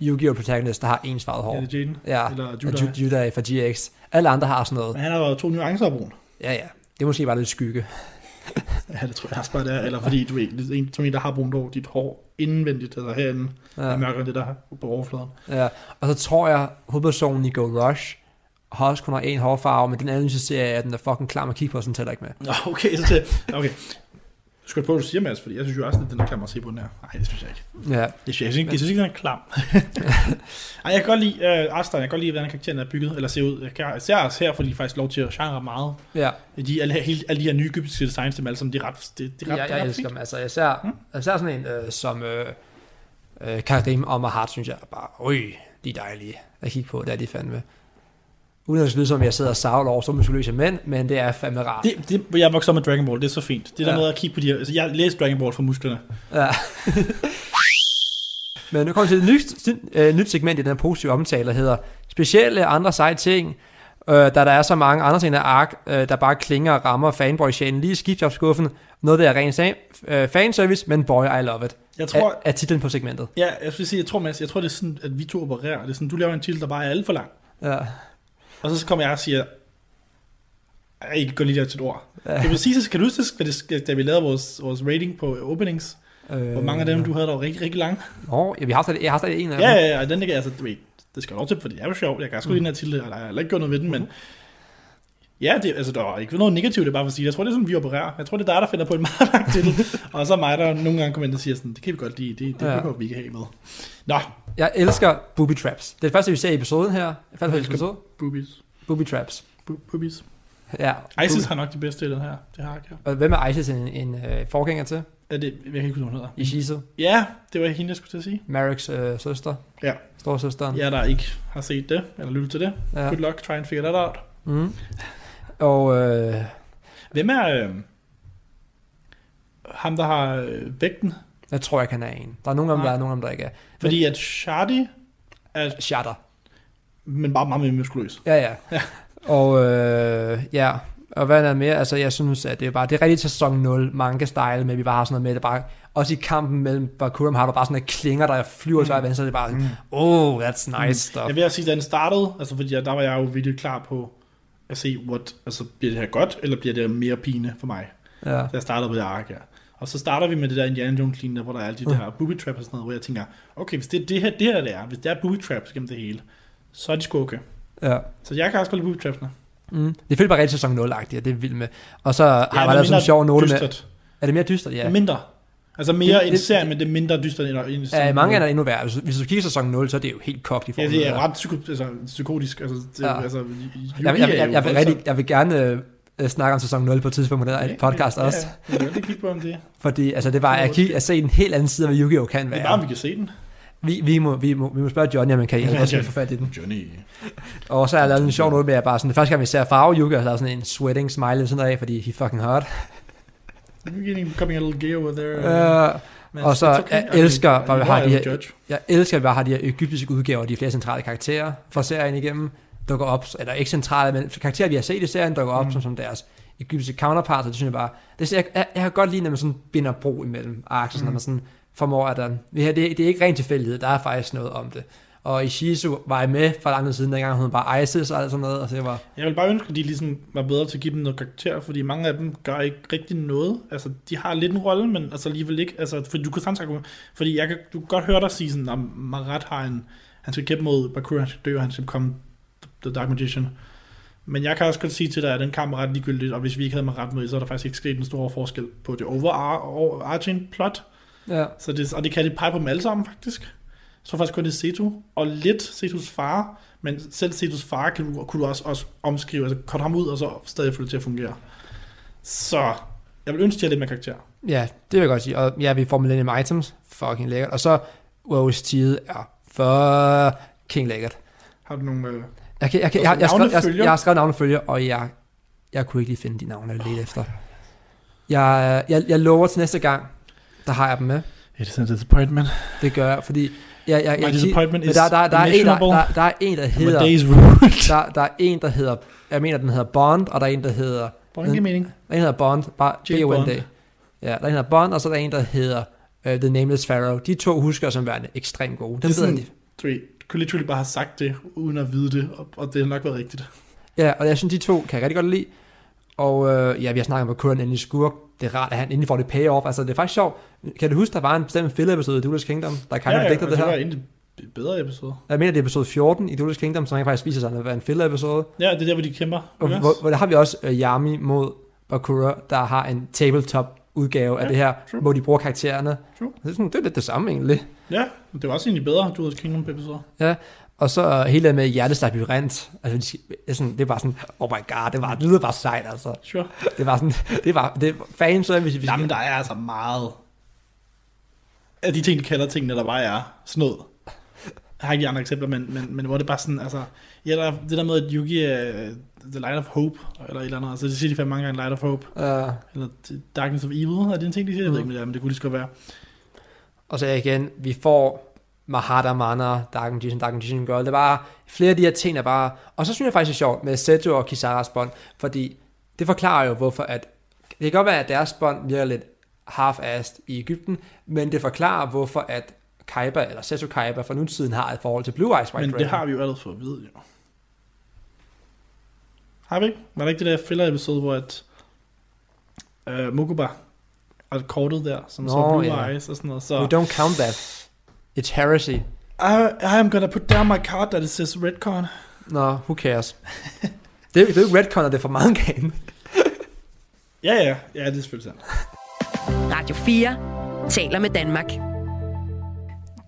Speaker 5: Yu-Gi-Oh! protagonist, der har ens farvet hår.
Speaker 6: Er det Jaden?
Speaker 5: Ja,
Speaker 6: Eller
Speaker 5: eller
Speaker 6: Judai?
Speaker 5: Judai. Judai fra GX. Alle andre har sådan noget.
Speaker 6: Men han har jo to nuancer af brun.
Speaker 5: Ja, ja. Det er måske bare lidt skygge.
Speaker 6: Ja, det tror jeg også bare, det er. Eller fordi, du ved, det er en, som en, der har brunt hår, dit hår indvendigt, altså herinde, ja. er mørkere end det, der er på overfladen.
Speaker 5: Ja. Og så tror jeg, hovedpersonen i Go Rush har også kun har en hårfarve, men den anden synes jeg, at den er fucking klam at kigge på, så den tæller ikke med.
Speaker 6: Nå, okay, så det, okay. Skal du på, hvad du siger, Mads? Fordi jeg synes jo også, at den er klam at se på den her. Nej, det synes jeg ikke.
Speaker 5: Ja,
Speaker 6: Jeg synes, jeg synes, ikke- jeg synes ikke, den er klam. Ej, jeg kan godt lide uh, Arstein, jeg kan godt lide, hvordan karakteren er bygget, eller ser ud. Jeg kan, især også her, fordi de faktisk lov til at genre meget.
Speaker 5: ja.
Speaker 6: De, alle, hele, alle de her nye egyptiske designs, dem alle sammen, de er ret, det, det er ret,
Speaker 5: jeg,
Speaker 6: det er
Speaker 5: jeg
Speaker 6: ret
Speaker 5: elsker
Speaker 6: fint. Mm.
Speaker 5: dem. Altså, jeg ser, jeg ser sådan en øh, som øh, øh, Karim Omerhart, synes jeg er bare, øj, de er dejlige at kigge på, det er de fandme. Uden at lyde som, jeg sidder og savler over så muskuløse mænd, men det er fandme rart. Det,
Speaker 6: Det, det, jeg voksede op med Dragon Ball, det er så fint. Det der
Speaker 5: Ja.
Speaker 6: med at kigge på de her, altså jeg læste Dragon Ball for musklerne.
Speaker 5: ja. men nu kommer vi til et nyt, øh, nyt segment i den her positive omtale, der hedder specielle andre seje ting, øh, da der er så mange andre ting af ark, øh, der bare klinger og rammer fanboy-sjælen lige i skibsopskuffen. Noget, der er ren sa- øh, fanservice, men boy, I love it.
Speaker 6: Jeg tror,
Speaker 5: Er, er titlen på segmentet.
Speaker 6: Ja, jeg skulle sige, jeg tror, Mads, jeg tror, det er sådan, at vi to opererer. Det er sådan, du laver en titel, der bare er alt for lang.
Speaker 5: Ja.
Speaker 6: Og så kommer jeg og siger, jeg ikke gå lige der til et ord. Ja. Det er præcis, kan du huske, hvad det, da vi lavede vores, vores rating på openings?
Speaker 5: Øh,
Speaker 6: Hvor mange af dem, du havde, der var rigtig, rigtig lange?
Speaker 5: Nå, ja, vi har stadig, jeg har stadig en af
Speaker 6: Ja,
Speaker 5: dem.
Speaker 6: ja, ja, og den der, altså, du ved, det skal jeg lov til, for det er jo sjovt. Jeg kan også gå ind her til det, og der er heller ikke gjort noget ved den, men... Ja, det, altså, der er ikke noget negativt, det er bare for at sige. Jeg tror, det er sådan, vi opererer. Jeg tror, det er dig, der finder på en meget lang titel. og så er mig, der nogle gange kommer ind og siger sådan, det kan vi godt lide, det, det
Speaker 5: Ja.
Speaker 6: ja. kan vi ikke have med. Nå,
Speaker 5: Jeg elsker booby traps. Det er det første, vi ser i episoden her. Jeg faldt på
Speaker 6: elsker-
Speaker 5: episode.
Speaker 6: boobies.
Speaker 5: Booby traps.
Speaker 6: Bu- Boobies.
Speaker 5: Ja.
Speaker 6: ISIS har nok de bedste i den her. Det har jeg ikke her.
Speaker 5: Booby- Og Hvem er Isis en, en øh, forgænger til?
Speaker 6: Er det, jeg kan ikke huske, hvad hun hedder.
Speaker 5: Ishizu.
Speaker 6: Ja, det var hende, jeg skulle til at sige.
Speaker 5: Mareks øh, søster.
Speaker 6: Ja.
Speaker 5: Storsøsteren.
Speaker 6: Jeg der ikke har set det, eller lyttet til det. Ja.
Speaker 5: Ja.
Speaker 6: Good luck, try and figure that out.
Speaker 5: Mm. Og øh,
Speaker 6: Hvem er øh, ham, der har øh, vægten?
Speaker 5: jeg tror, jeg kan have en. Der er nogen af dem,
Speaker 6: Nej.
Speaker 5: der er nogen af dem, der ikke er.
Speaker 6: Fordi at Shardy er,
Speaker 5: Shatter.
Speaker 6: men bare meget mere muskuløs.
Speaker 5: Ja, ja. og øh, ja, og hvad er der mere? Altså, jeg synes, at det er bare, det er rigtig sæson 0, manga-style, men vi bare har sådan noget med, det bare, også i kampen mellem Bakuram har der bare sådan noget klinger, der flyver til mm. venstre, det er bare, oh, that's nice mm. stuff.
Speaker 6: Jeg vil også sige, da den startede, altså fordi jeg, der var jeg jo virkelig klar på at se, what, altså bliver det her godt, eller bliver det mere pine for mig?
Speaker 5: Ja,
Speaker 6: Da jeg startede på det ark, ja. Og så starter vi med det der Indiana Jones lignende, hvor der er alle de
Speaker 5: Mm.
Speaker 6: der booby traps og sådan noget, hvor jeg tænker, okay, hvis det er det her, det her det er, hvis det er booby traps gennem det hele, så er de sgu okay.
Speaker 5: Ja.
Speaker 6: Så jeg kan også godt lide booby trapsene.
Speaker 5: Mm. Det føles bare rigtig sæson 0 agtigt og det er vildt med. Og så har
Speaker 6: Ja,
Speaker 5: jeg
Speaker 6: det er
Speaker 5: bare lavet sådan en
Speaker 6: mindre
Speaker 5: sjov note med...
Speaker 6: dystert.
Speaker 5: Er det mere dystert? Ja.
Speaker 6: Ja. Mindre. Altså mere
Speaker 5: Det-
Speaker 6: en
Speaker 5: det-
Speaker 6: serie, men det er mindre dystert end en
Speaker 5: Ja, i mange af
Speaker 6: af
Speaker 5: det er endnu værre. Hvis, hvis du kigger sæson 0, så er det jo helt kogt i
Speaker 6: Ja,
Speaker 5: forhold
Speaker 6: det er
Speaker 5: til-
Speaker 6: ret psyko, altså, psykotisk. Altså, det,
Speaker 5: Ja.
Speaker 6: ja. altså,
Speaker 5: Jeg, jeg, jeg, jeg, vil, rigtig, jeg vil gerne øh, øh, snakke om sæson 0 på et tidspunkt, hvor der er et podcast også.
Speaker 6: Ja, vi kan godt lige kigge på, om det er.
Speaker 5: Fordi altså, det var at, kigge, at se en helt anden side af, hvad Yu-Gi-Oh! kan
Speaker 6: Det er bare, om
Speaker 5: være.
Speaker 6: vi kan se den.
Speaker 5: Vi, vi, må, vi, må, vi må spørge Johnny, om han kan hjælpe
Speaker 6: Ja,
Speaker 5: os med at
Speaker 6: Johnny.
Speaker 5: få fat i den.
Speaker 6: Johnny.
Speaker 5: Og så har jeg lavet en sjov note med, at bare sådan, det første gang, vi ser farve Yu-Gi-Oh! så er der sådan en sweating smiley sådan noget af, fordi he fucking hot.
Speaker 6: You're getting, becoming a little gay over there.
Speaker 5: Uh,
Speaker 6: Men
Speaker 5: og så
Speaker 6: it's okay. Altså,
Speaker 5: jeg elsker,
Speaker 6: Okay,
Speaker 5: hvor vi
Speaker 6: you
Speaker 5: har
Speaker 6: are
Speaker 5: de
Speaker 6: a
Speaker 5: her-
Speaker 6: judge.
Speaker 5: jeg elsker, at vi bare har de her egyptiske udgaver, de flere centrale karakterer fra serien igennem, dukker op, eller ikke centrale, men karakterer, vi har set i serien, dukker op mm. som, som deres egyptiske counterparts, og det synes jeg bare, det ser, jeg, jeg, jeg kan godt lide, når man sådan binder bro imellem arcs, mm. når man sådan formår, at der, det, her, det, det er ikke ren tilfældighed, der er faktisk noget om det. Og Ishizu var jeg med for lang tid siden, dengang hun bare ISIS og alt sådan noget, og så jeg var,
Speaker 6: Jeg vil bare ønske, at de ligesom var bedre til at give dem noget karakter, fordi mange af dem gør ikke rigtig noget. Altså, de har lidt en rolle, men altså alligevel ikke. Altså, fordi du kan samtidig fordi jeg kan, du kan godt høre dig sige sådan, at Marat har en, han skal kæmpe mod Bakura, han skal dø, og han skal komme The Dark Magician. Men jeg kan også godt sige til dig, at den kamp er ret ligegyldigt, og hvis vi ikke havde Marat med, så er der faktisk ikke sket en stor forskel på det overarching plot.
Speaker 5: ja,
Speaker 6: Så det, og det kan de pege på dem alle sammen, faktisk. Så faktisk kun det er Seto, og lidt Setos far, men selv Setos far kan du, kunne du også, også omskrive, altså cut ham ud, og så stadig få det til at fungere. Så jeg vil ønske, at jeg lidt mere karakter.
Speaker 5: ja, det vil jeg godt sige, og ja, vi får Millennium Items, fucking lækkert, og så OST'et er fucking lækkert.
Speaker 6: Har du nogle... Øh...
Speaker 5: Jeg, kan, jeg, kan,
Speaker 6: Altså,
Speaker 5: jeg, jeg, skrev, jeg,
Speaker 6: navnefølger?
Speaker 5: jeg har skrevet navnefølger, og jeg, jeg kunne ikke lige finde de navne, jeg ledte efter. Jeg, jeg, jeg lover til næste gang, der har jeg dem med.
Speaker 6: It is a disappointment.
Speaker 5: Det gør jeg, fordi... Jeg, jeg, jeg,
Speaker 6: My disappointment
Speaker 5: men
Speaker 6: is
Speaker 5: der, der, der, er en, der,
Speaker 6: immeasurable.
Speaker 5: der, der er en, der
Speaker 6: My
Speaker 5: hedder...
Speaker 6: day is ruined.
Speaker 5: Der, der er en, der hedder... Jeg mener, den hedder Bond, og der er en, der hedder...
Speaker 6: Hvordan giver mening?
Speaker 5: Der er en, der hedder Bond, bare
Speaker 6: James
Speaker 5: B-O-N-D.
Speaker 6: Bond.
Speaker 5: Ja, der er en, der hedder Bond, og så er der en, der hedder uh, The Nameless Pharaoh. De to husker jeg som værende ekstremt gode. Dem
Speaker 6: Det er
Speaker 5: ved jeg,
Speaker 6: sådan,
Speaker 5: de-
Speaker 6: du ved, du kunne literally bare have sagt det, uden at vide det, og, og det har nok været rigtigt.
Speaker 5: Ja, og jeg synes, de to kan jeg rigtig godt lide. Og øh, ja, vi har snakket om, at Curran endelig skurk. Det er rart, at han endelig får det payoff. Altså, det er faktisk sjovt. Kan du huske, der var en bestemt filler-episode i Duelist Kingdom, der kan ja, ja, digter
Speaker 6: og
Speaker 5: det her?
Speaker 6: var egentlig et bedre episode.
Speaker 5: Jeg mener, det er episode 14 i Duelist Kingdom, som rent faktisk viser sig at være en filler-episode.
Speaker 6: Ja, det er der, hvor de kæmper.
Speaker 5: Og
Speaker 6: Yes.
Speaker 5: hvor, hvor der har vi også øh, Yami mod Bakura, der har en tabletop-udgave af
Speaker 6: Ja,
Speaker 5: det her,
Speaker 6: true.
Speaker 5: hvor de bruger karaktererne.
Speaker 6: True.
Speaker 5: Det er, sådan, det er lidt det samme egentlig.
Speaker 6: Ja, men det var også egentlig bedre, du havde Kingdom episode.
Speaker 5: Og så øh, hele det med hjerteslag labyrint. Altså, de skal- det er sådan- det er bare sådan, oh my god, det, var, det lyder bare sejt, altså.
Speaker 6: Sure.
Speaker 5: Det var sådan, det var, det er fanservice, hvis vi skal-
Speaker 6: Jamen, der er altså meget af de ting, de kalder tingene, der bare er snod. Jeg har ikke de andre eksempler, men, men, men hvor det bare sådan, altså, ja, der, er det der med, at Yugi er The Light of Hope, eller et eller andet, altså det siger de fandme mange gange, Light of Hope,
Speaker 5: Øh,
Speaker 6: eller Darkness of Evil, er det en ting, de siger? Jeg ved ikke, men det, er, men det kunne lige så godt være.
Speaker 5: Og så igen, vi får Mahada Mana, Dark Magician, Dark Magician Girl. Det var flere af de her ting, der bare... Og så synes jeg faktisk, det er sjovt med Seto og Kisaras bånd, fordi det forklarer jo, hvorfor at... Det kan godt være, at deres bånd virker lidt half-assed i Ægypten, men det forklarer, hvorfor at Kaiba, eller Seto Kaiba fra nutiden har et forhold til Blue Eyes White
Speaker 6: Men
Speaker 5: Dragon.
Speaker 6: det har vi jo allerede fået at vide, jo. Har vi ikke? Var der ikke det der filler-episode, hvor at øh, Mokuba er kortet der, som
Speaker 5: Nå,
Speaker 6: så Blue
Speaker 5: ja.
Speaker 6: Eyes og sådan noget, så...
Speaker 5: We don't count that. It's heresy.
Speaker 6: I, I am gonna put down my card that it says Redcon.
Speaker 5: Nå, no, who cares? det, er, det er jo ikke retcon, og det er for mange gange.
Speaker 6: Ja, ja, ja, det er selvfølgelig sandt.
Speaker 2: Radio 4 taler med Danmark.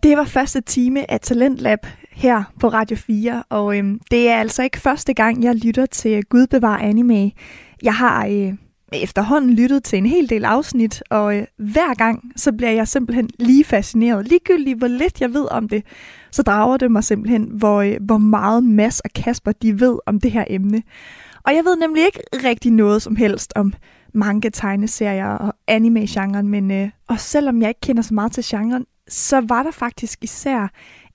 Speaker 4: Det var første time af Talentlab her på Radio 4, og øhm, det er altså ikke første gang, jeg lytter til Gud bevar anime. Jeg har øh, efterhånden lyttet til en hel del afsnit, og øh, hver gang, så bliver jeg simpelthen lige fascineret. Ligegyldigt hvor lidt jeg ved om det, så drager det mig simpelthen, hvor, øh, hvor meget Mads og Kasper de ved om det her emne. Og jeg ved nemlig ikke rigtig noget som helst om mange tegneserier og anime-genren, men øh, og selvom jeg ikke kender så meget til genren, så var der faktisk især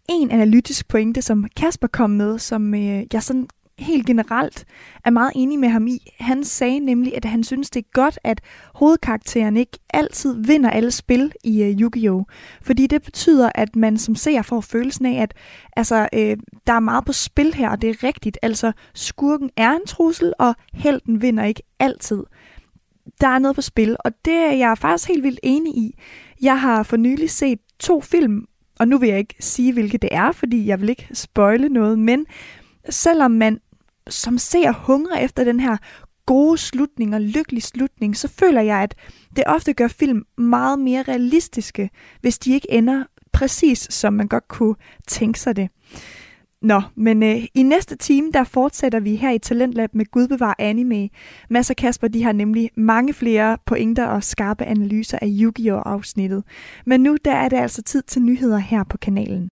Speaker 4: en analytisk pointe, som Kasper kom med, som øh, jeg sådan helt generelt er meget enig med ham i. Han sagde nemlig, at han synes, det er godt, at hovedkarakteren ikke altid vinder alle spil i øh, Yu-Gi-Oh! Fordi det betyder, at man som ser får følelsen af, at altså, øh, der er meget på spil her, og det er rigtigt. Altså, skurken er en trussel, og helten vinder ikke altid der er noget på spil, og det er jeg faktisk helt vildt enig i. Jeg har for nylig set to film, og nu vil jeg ikke sige, hvilke det er, fordi jeg vil ikke spoile noget, men selvom man som ser hungrer efter den her gode slutning og lykkelig slutning, så føler jeg, at det ofte gør film meget mere realistiske, hvis de ikke ender præcis, som man godt kunne tænke sig det. Nå, men øh, i næste time, der fortsætter vi her i Talentlab med Gud bevar anime. Mads og Kasper, de har nemlig mange flere pointer og skarpe analyser af Yu-Gi-Oh! afsnittet. Men nu, der er det altså tid til nyheder her på kanalen.